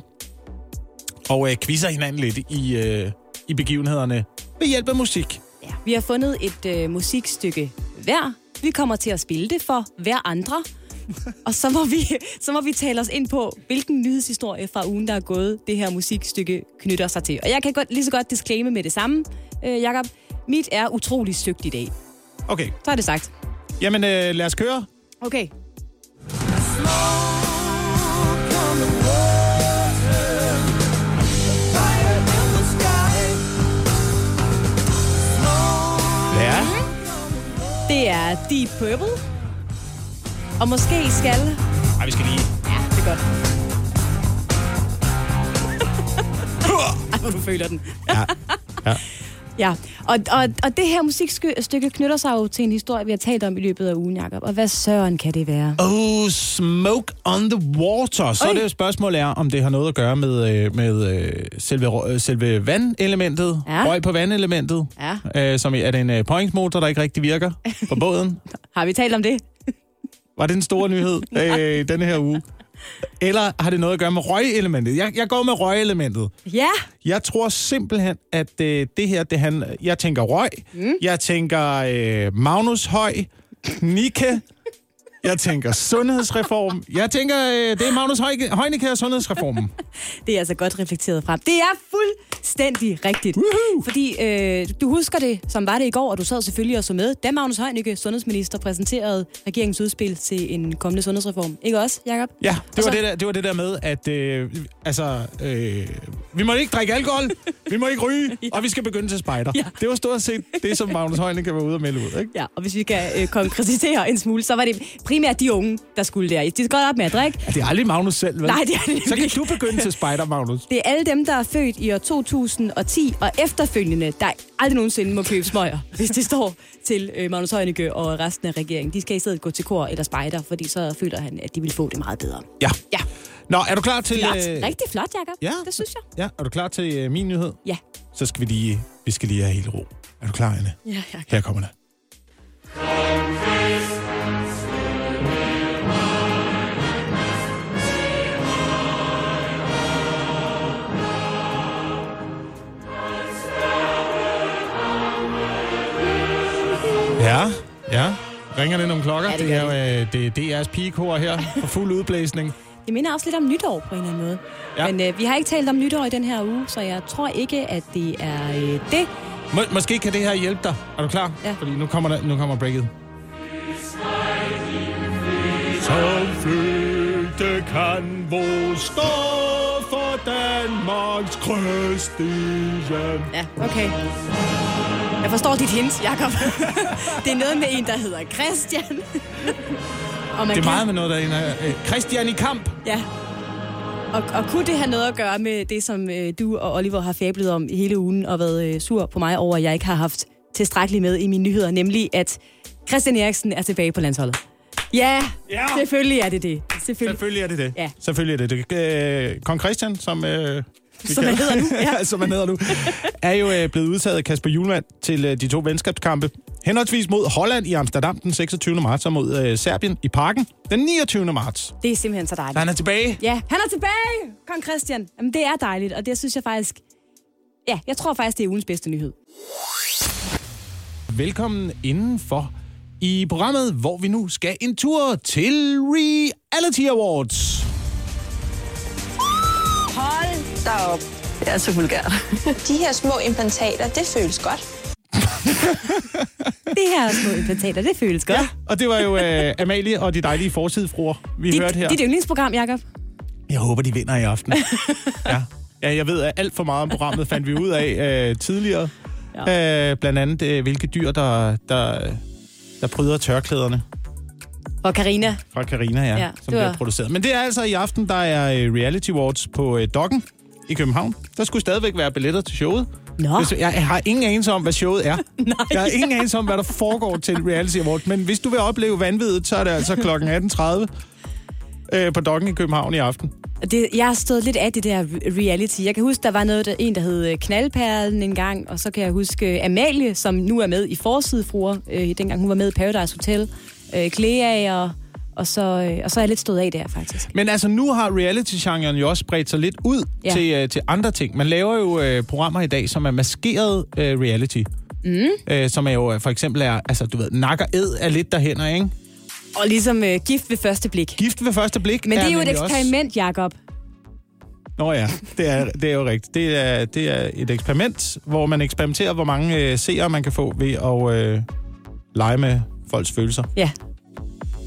Og øh, quizzer hinanden lidt i, øh, i begivenhederne ved hjælp af musik. Ja, vi har fundet et øh, musikstykke hver. Vi kommer til at spille det for hver andre. Og så må, vi, *laughs* så må vi tale os ind på, hvilken nyhedshistorie fra ugen, der er gået, det her musikstykke knytter sig til. Og jeg kan godt, lige så godt disclaime med det samme, øh, Jakob. Mit er utrolig søgt i dag. Okay, Så er det sagt. jamen øh, lad os køre. Okay. Ja. Det det er Deep Purple. Og måske skal... Ej, vi skal lige... Ja, det er godt. *laughs* Ej, hvor du føler den. Ja. ja. *laughs* Ja, og, og, og det her musikstykke knytter sig jo til en historie, vi har talt om i løbet af ugen, Jacob. Og hvad søren kan det være? Oh, smoke on the water. Så Oi. det jo spørgsmålet er, om det har noget at gøre med, øh, med øh, selve, rø- øh, selve vandelementet. Ja. Røg på vandelementet. Ja. Øh, som i- er det en øh, pointsmotor, der ikke rigtig virker på *laughs* båden? Har vi talt om det? Var det en stor nyhed øh, denne her uge? Eller har det noget at gøre med røgelementet? Jeg, jeg går med røgelementet. Ja, Jeg tror simpelthen, at øh, det her, det han, jeg tænker Røg, mm. jeg tænker øh, Magnus Høj, Nike, jeg tænker sundhedsreform. Jeg tænker, øh, det er Magnus Høj, Højnike og sundhedsreformen. det er altså godt reflekteret frem. Det er fuldstændig rigtigt. Woohoo! Fordi øh, du husker det, som var det i går, og du sad selvfølgelig og så med, da Magnus Heunicke, sundhedsminister, præsenterede regeringens udspil til en kommende sundhedsreform. Ikke også, Jacob? Ja, Og det var så- det, der, det var det der med, at øh, altså, øh, vi må ikke drikke alkohol, vi må ikke ryge, og vi skal begynde til spejder. Ja. Det var stort set det, som Magnus Højnike var ude og melde ud. Ikke? Ja, og hvis vi kan øh, konkretisere en smule, så var det primært de unge, der skulle der. De skal godt op med at drikke. Ja, det er aldrig Magnus selv, vel? Nej, det er det nemlig Så kan ikke. du begynde til spejder, Magnus. Det er alle dem, der er født i år 2010 og efterfølgende, der aldrig nogensinde må købe *laughs* smøger, hvis det står til øh, Magnus Heunicke og resten af regeringen. De skal i stedet gå til kor eller spejder, fordi så føler han, at de vil få det meget bedre. Ja. Ja. Nå, er du klar til... øh, Flot. Rigtig flot, Jacob. Ja. Det synes jeg. Ja, er du klar til øh, min nyhed? Ja. Så skal vi lige, vi skal lige have hele ro. Er du klar, Anne? Ja, Jacob. Her kommer det. Ja, ja. Ringer det nogle klokker? Ja, det det, gør er, øh, det er DR's pigekor her for fuld udblæsning. Det minder også lidt om nytår på en eller anden måde. Ja. Men øh, vi har ikke talt om nytår i den her uge, så jeg tror ikke, at det er øh, det. Må, måske kan det her hjælpe dig. Er du klar? Ja. Fordi nu kommer, der, nu kommer breaket. Som flygte kan vores stå for Danmarks krøstige. Ja, okay. Jeg forstår dit hint, Jacob. *laughs* det er noget med en, der hedder *laughs* Christian. og man Det er kan- meget med noget, der er en af- øh, Christian i kamp. Ja. Og, og kunne det have noget at gøre med det, som øh, du og Oliver har fablet om hele ugen og været øh, sur på mig over, at jeg ikke har haft tilstrækkeligt med i mine nyheder, nemlig at Christian Eriksen er tilbage på landsholdet? Ja, Ja. selvfølgelig er det det. Selvfølgelig. Selvfølgelig er det det. Ja. Selvfølgelig er det det. Øh, Kong Christian, som... Øh, vi Som han kalder- *laughs* hedder nu, ja. som han hedder nu, er jo øh, blevet udtaget af Kasper Julemand til øh, de to venskabskampe. Henholdsvis mod Holland i Amsterdam den 26. marts og mod øh, Serbien i Parken den 29. marts. Så Det er simpelthen så dejligt. han er tilbage. Ja, han er tilbage, kong Christian. Jamen, det er dejligt, og det synes jeg faktisk... Ja, jeg tror faktisk, det er ugens bedste nyhed. Velkommen indenfor i programmet, hvor vi nu skal en tur til Reality Awards. Hold da op. Det er så vulgært. De her små implantater, det føles godt. Det her *laughs* små implantater, det føles godt. Ja, Og det var jo øh, Amalie og de dejlige forsidefruer, vi dit, hørte her. dit yndlingsprogram, Jacob. Jeg håber, de vinder i aften. *laughs* ja. ja, jeg ved, at alt for meget om programmet fandt vi ud af øh, tidligere. Ja. Øh, blandt andet, øh, hvilke dyr, der, der, der pryder tørklæderne Og Karina. fra Karina, ja, Ja, ja, det som bliver var- produceret. Men det er altså i aften, der er øh, Reality Awards på øh, Dokken i København. Der skulle stadigvæk være billetter til showet. Nå. Hvis- Jeg har ingen anelse om, hvad showet er. *laughs* Nej. Jeg har ingen anelse om, hvad der foregår til Reality Awards. Men hvis du vil opleve vanvittigt, så er det altså kl. 18.30 øh, på Dokken i København i aften. Og Det, jeg har stået lidt af det der reality. Jeg kan huske, der var noget, der, en, der hed øh, Knaldperlen en gang, og så kan jeg huske øh, Amalie, som nu er med i Forsidefruer, øh, dengang hun var med i Paradise Hotel, øh, Clea, og, og, så, øh, og så er jeg lidt stået af der, faktisk. Men altså, nu har reality-genren jo også spredt sig lidt ud Ja. ja. til, øh, til andre ting. Man laver jo øh, programmer i dag, som er maskeret øh, reality. Mm. Øh, som er jo øh, for eksempel er, altså du ved, nak og ed er lidt derhen, ikke? Og ligesom øh, gift ved første blik. Gift ved første blik Men det er jo et nemlig også- eksperiment, Jakob. Nå ja, det er, det er jo rigtigt. Det er, det er et eksperiment, hvor man eksperimenterer, hvor mange øh, seere man kan få ved at øh, lege med folks følelser. Ja,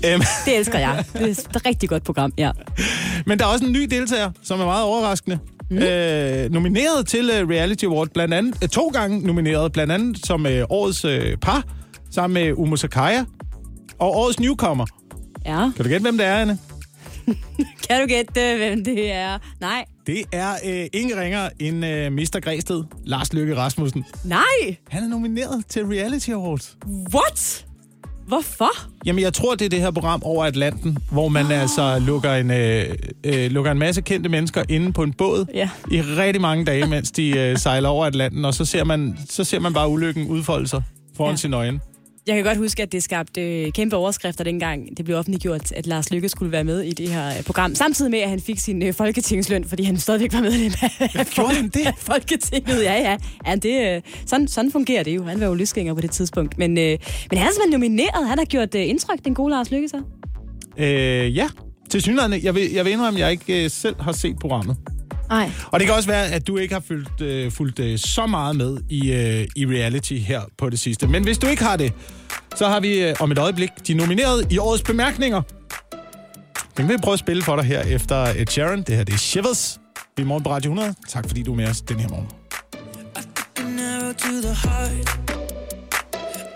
Øhm, det elsker jeg. Det er et rigtig godt program, ja. men der er også en ny deltager, som er meget overraskende. Mm. Øh, nomineret til uh, Reality Award, blandt andet, øh, to gange nomineret, blandt andet som øh, årets øh, par, sammen med Umo Sakaya og årets newcomer. Ja. Kan du gætte, hvem det er, Anne? Kan du gætte, øh, hvem det er? Nej. Det er øh, ingen ringer end øh, Mr. Græsted, Lars Løkke Rasmussen. Nej! Han er nomineret til Reality Awards. What? Hvorfor? Jamen, jeg tror, det er det her program over Atlanten, hvor man oh. altså lukker en, øh, øh, lukker en masse kendte mennesker inde på en båd Ja. i rigtig mange dage, mens de øh, sejler over Atlanten, og så ser man, så ser man bare ulykken udfolde sig foran ja. sine øjne. Jeg kan godt huske, at det skabte øh, kæmpe overskrifter dengang. Det blev offentliggjort, at Lars Lykke skulle være med i det her øh, program. Samtidig med, at han fik sin øh, folketingsløn, fordi han stadigvæk var medlem af, gjorde han det? *laughs* af Folketinget. Ja, ja. ja det, øh, sådan, sådan fungerer det jo. Han var jo løsgænger på det tidspunkt. Men, øh, men han er simpelthen nomineret. Han har gjort øh, indtryk, den gode Lars Lykke, så. Øh, ja, til synligheden. Jeg vil, jeg vil indrømme, at jeg ikke øh, selv har set programmet. Nej. Og det kan også være, at du ikke har fulgt, øh, fulgt øh, så meget med i, øh, i reality her på det sidste. Men hvis du ikke har det, så har vi øh, om et øjeblik de nominerede i årets bemærkninger. Den kan vi prøve at spille for dig her efter Ed Sheeran. Det her det er Shivers. Vi er i morgen på Radio 100. Tak fordi du er med os den her morgen. An arrow to the heart.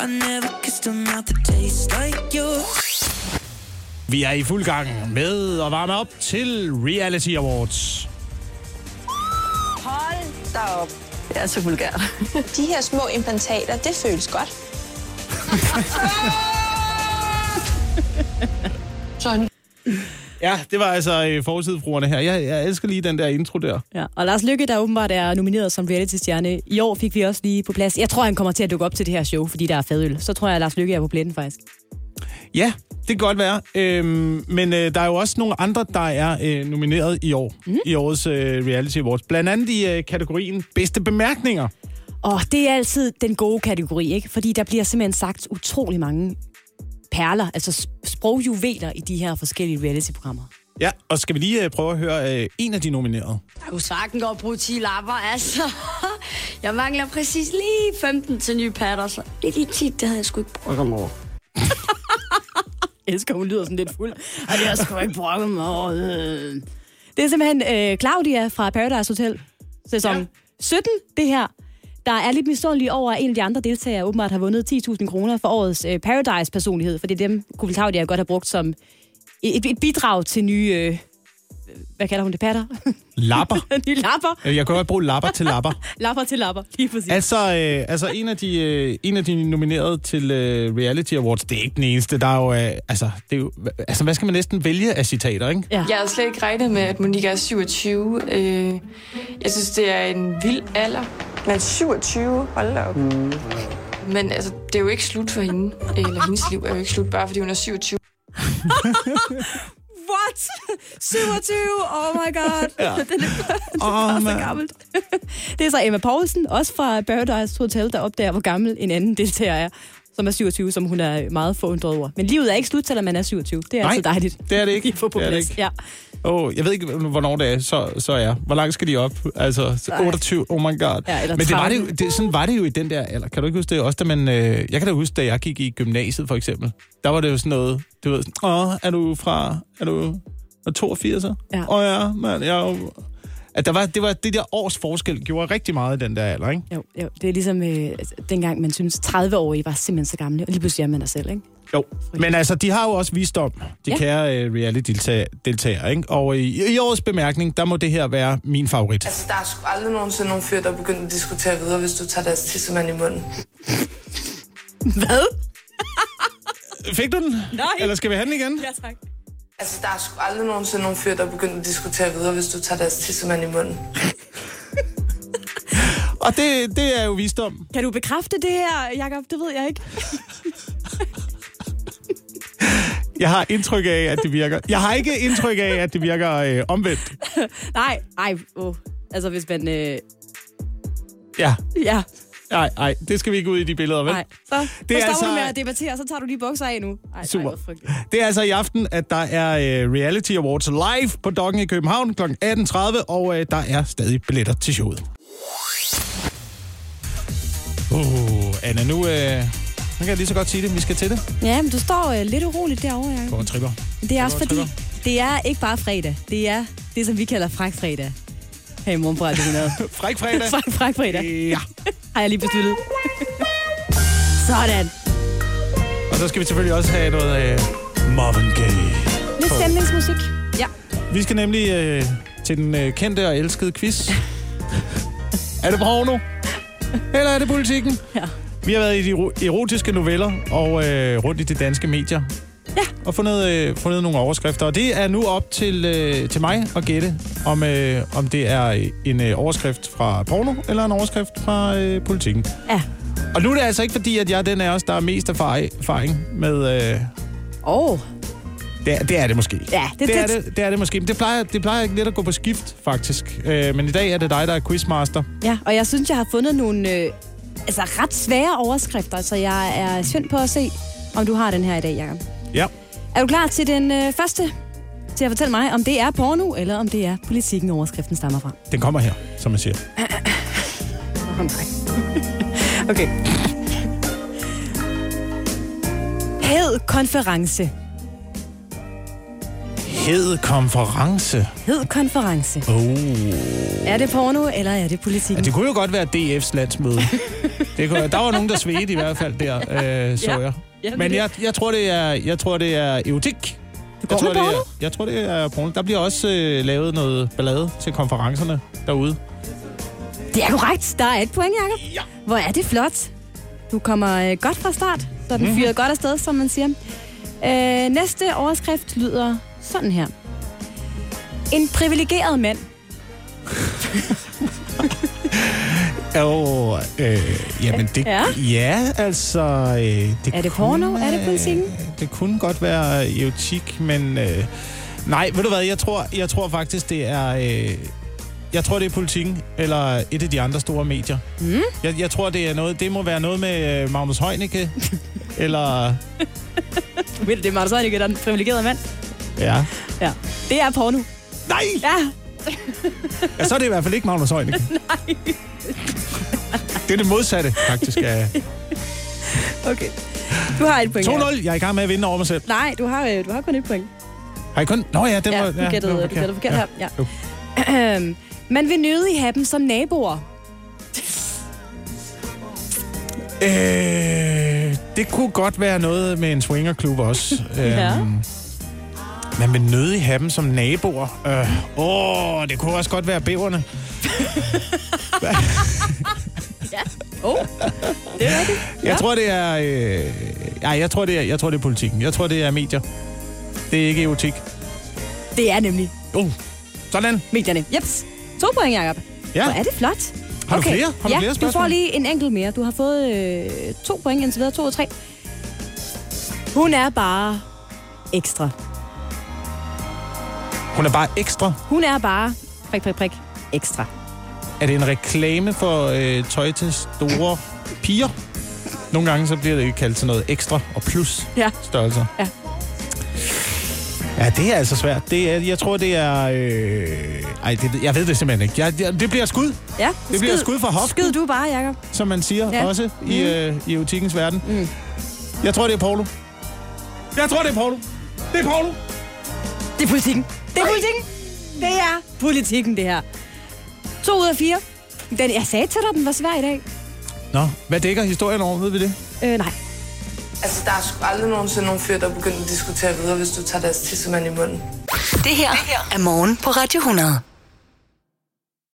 I never kissed a mouth that tastes like yours. Vi er i fuld gang med at varme op til Reality Awards. Hold da op. Det er så vulgært. De her små implantater, det føles godt. Sådan. Ja, det var altså øh, forsidefruerne her. Jeg, jeg elsker lige den der intro der. Ja, og Lars Lykke, der åbenbart er nomineret som reality-stjerne. I år fik vi også lige på plads. Jeg tror, han kommer til at dukke op til det her show, fordi der er fadøl. Så tror jeg, at Lars Lykke er på pletten, faktisk. Ja, det kan godt være. Øhm, men øh, der er jo også nogle andre, der er øh, nomineret i år. Mhm. Mm. I årets øh, Reality Awards. Blandt andet i øh, kategorien Bedste Bemærkninger. Og det er altid den gode kategori, ikke? Fordi der bliver simpelthen sagt utrolig mange perler, altså s- sprogjuveler i de her forskellige reality-programmer. Ja, og skal vi lige øh, prøve at høre øh, en af de nominerede? Jeg kunne sagtens godt bruge 10 lapper, altså. Jeg mangler præcis lige 15 til nye patter, så lige de 10, det havde jeg sgu ikke brugt. Kom over. Jeg elsker, hun lyder sådan lidt fuld. Og det har jeg sgu ikke brokke mig over. Øh. Det er simpelthen øh, Claudia fra Paradise Hotel, sæson ja. 17, det her. Der er lidt misundelig over, at en af de andre deltagere åbenbart har vundet 10.000 kroner for årets øh, Paradise-personlighed, fordi dem kunne Claudia godt have brugt som et, et bidrag til nye... Øh, hvad kalder hun det? Patter? *laughs* Lapper. nye lapper. Øh, Jeg kan godt bruge lapper til lapper. *laughs* Lapper til lapper, lige præcis. Altså, øh, altså en, af de, øh, en af de nominerede til øh, Reality Awards, det er ikke den eneste. Der er jo, øh, altså, det er jo, altså, hvad skal man næsten vælge af citater, ikke? Ja. Jeg havde slet ikke regnet med, at Monika er 27. Øh, jeg synes, det er en vild alder. Men 27? Hold da op. Mm. Men altså, det er jo ikke slut for hende. Eller hendes liv er jo ikke slut, bare fordi hun er 27. What? 27? Oh my god. Ja. Ja. Den er, den er oh, så man. gammelt. *laughs* Det er så Emma Poulsen, også fra Paradise Hotel, der opdager, hvor gammel en anden deltager er, som er 27, som hun er meget forundret over. Men livet er ikke slut, selvom man er 27. Det er Nej, altså dejligt. det er det *laughs* ikke. Lige få på Det er det plads. ikke. Ja. Oh, jeg ved ikke, hvornår det er, så, så er. Hvor langt skal de op? Altså, så Nej. 28, oh my god. Ja, eller Men det var det, jo, 30. det, sådan var det jo i den der alder. Kan du ikke huske det også, da man... Øh, jeg kan da huske, da jeg gik i gymnasiet, for eksempel. Der var det jo sådan noget, du ved, sådan, åh, er du fra... Er du er 82? Åh ja, oh, ja mand, jeg er jo... At der var, det var det der års forskel gjorde rigtig meget i den der alder, ikke? Jo, jo, det er ligesom øh, dengang, man synes 30-årige var simpelthen så gamle, og lige pludselig er man der selv, *laughs* ikke? Jo, men altså, de har jo også visdom, de Ja. ja. kære uh, reality-deltagere, ikke? Og i, i årets bemærkning, der må det her være min favorit. Altså, der er sgu aldrig nogensinde nogen fyr, der er begyndt at diskutere videre, hvis du tager deres tissemand i munden. Hvad? Fik du den? Nej. Eller skal vi have den igen? Ja, tak. Altså, der er sgu aldrig nogensinde nogen fyr, der er begyndt at diskutere videre, hvis du tager deres tissemand i munden. Og det, det er jo visdom. Kan du bekræfte det her, Jakob? Det ved jeg ikke. Jeg har indtryk af, at det virker. Jeg har ikke indtryk af, at det virker øh, omvendt. nej, nej. Oh. Altså, hvis man... Øh, Ja. ja, Nej, nej, det skal vi ikke ud i de billeder, vel? nej. Så, Det det er er så altså- stopper du med at debattere, så tager du lige bukser af nu. Ej, Super. Ej, hvor frygteligt. Det er altså i aften, at der er øh, Reality Awards live på Dokken i København kl. 18.30, og øh, der er stadig billetter til showet. Uh, Anna, nu, øh, nu kan jeg lige så godt sige det. Vi skal til det. ja, men du står øh, lidt uroligt derovre, Jacob. Går og tripper. Det er også godt, fordi, det er ikke bare fredag. Det er det, som vi kalder fræk fredag. Her i morgen på Radio 100. fræk *laughs* fredag. fræk, fræk fredag. Ja. Har jeg lige besluttet. Sådan. så skal vi selvfølgelig også have noget øh, Marvin Gaye. Lidt stemningsmusik. Ja. Vi skal nemlig øh, til den øh, kendte og elskede quiz. *laughs* er det porno? Eller er det politikken? Ja. Vi har været i de ero- erotiske noveller og øh, rundt i de danske medier. Ja. Og fundet, øh, fundet nogle overskrifter. Og det er nu op til, øh, til mig at gætte, om, øh, om det er en øh, overskrift fra porno eller en overskrift fra øh, politikken. Ja. Og nu er det altså ikke fordi, at jeg er den af os, der er mest erfari- erfaring med... Øh, Åh. Det, er- det er det måske. Ja, det- det, det, er det- det, det er det måske. Men det plejer, det plejer lidt at gå på skift, faktisk. Øh, men i dag er det dig, der er quizmaster. Ja, og jeg synes, jeg har fundet nogle øh, altså ret svære overskrifter, så jeg er spændt på at se, om du har den her i dag, Jacob. Ja. Er du klar til den øh, første? Til at fortælle mig, om det er porno, eller om det er politikken, overskriften stammer fra. Den kommer her, som man siger. Åh, nej. okay. Hed konference. Hed konference. Hed konference. Oh. Er det porno, eller er det Ja, politikken? det kunne jo godt være DF's landsmøde. *laughs* Det kunne, der var nogen, der svedte i hvert fald der, øh, så Ja. jeg. Jamen, Men det- jeg, jeg, tror, det er, jeg tror, det er erotik. går Jeg tror, med det porno? er, jeg tror, det er porno. Der bliver også øh, lavet noget ballade til konferencerne derude. Det er korrekt. Der er et point, Jacob. Ja. Hvor er det flot. Du kommer øh, godt fra start, så den Mhm. fyrer godt afsted, som man siger. Øh, næste overskrift lyder sådan her. En privilegeret mand. Og, øh, jamen, det, Ja. ja. ja, altså... Øh, det øh, Er det porno? Er det politikken? Det kunne godt være øh, erotik, men... Øh, nej, ved du hvad, jeg tror, jeg tror faktisk, det er... Øh, jeg tror, det er politikken, eller et af de andre store medier. Mm. Jeg, jeg tror, det er noget, det må være noget med øh, Magnus *laughs* Heunicke, eller... Du ved, det er Martin Sønneke, der er den privilegerede mand. Ja. Ja. Det er porno. Nej! Ja. ja, så er det i hvert fald ikke Magnus Heunicke. *laughs* nej. det er det modsatte, faktisk. *laughs* Af... Okay. Du har et point. Jacob. 2-0, jeg er i gang med at vinde over mig selv. Nej, du har, øh, du har kun et point. Har I kun... Nå ja, den ja, var... du gættede, den ja, var du gættede forkert Ja. her. Ja. Ahem. Man vil nødig have dem som naboer. Øh, det kunne godt være noget med en swingerklub også. *laughs* Ja. Øhm, Man vil nødig have dem som naboer. Øh, åh, det kunne også godt være bæverne. Ja. *laughs* Oh. Det er rigtigt. Jeg tror, det er... Øh, ja, jeg tror, det er, jeg tror, det er politikken. Jeg tror, det er medier. Det er ikke erotik. Det er nemlig Uh, sådan. medierne. Jeps. To point, Jacob. Ja. Hvor er det flot. Har du flere? Har du ja, flere du får spørgsmål? lige en enkelt mere. Du har fået øh, to point indtil videre. To og tre. Hun er bare ekstra. Hun er bare ekstra. Hun er bare prik, prik, prik ekstra. Er det en reklame for øh, tøj til store piger? Nogle gange så bliver det kaldt til noget ekstra og plus Ja. størrelser. Ja. Ja, det er altså svært. Det er, jeg tror, det er... Øh, ej, det, jeg ved det simpelthen ikke. Jeg, jeg, det bliver skud, Ja, Det bliver skud fra hoften. Skyd du bare, Jacob. som man siger Ja. ja. også i, Mm. øh, i erotikkens verden. Mm. Jeg tror, det er Paolo. Jeg tror, det er Paolo. Det er Paolo. Det er politikken. Det er politikken. Det er politikken, det her. To ud af fire. Den, jeg sagde til dig, den var svær i dag. Nå, hvad dækker historien over? Ved vi det? Øh, nej. Altså, der er sgu aldrig nogensinde nogen fyr, der er begyndt at diskutere videre, hvis du tager deres tissemand i munden. Det her, er morgen på Radio 100.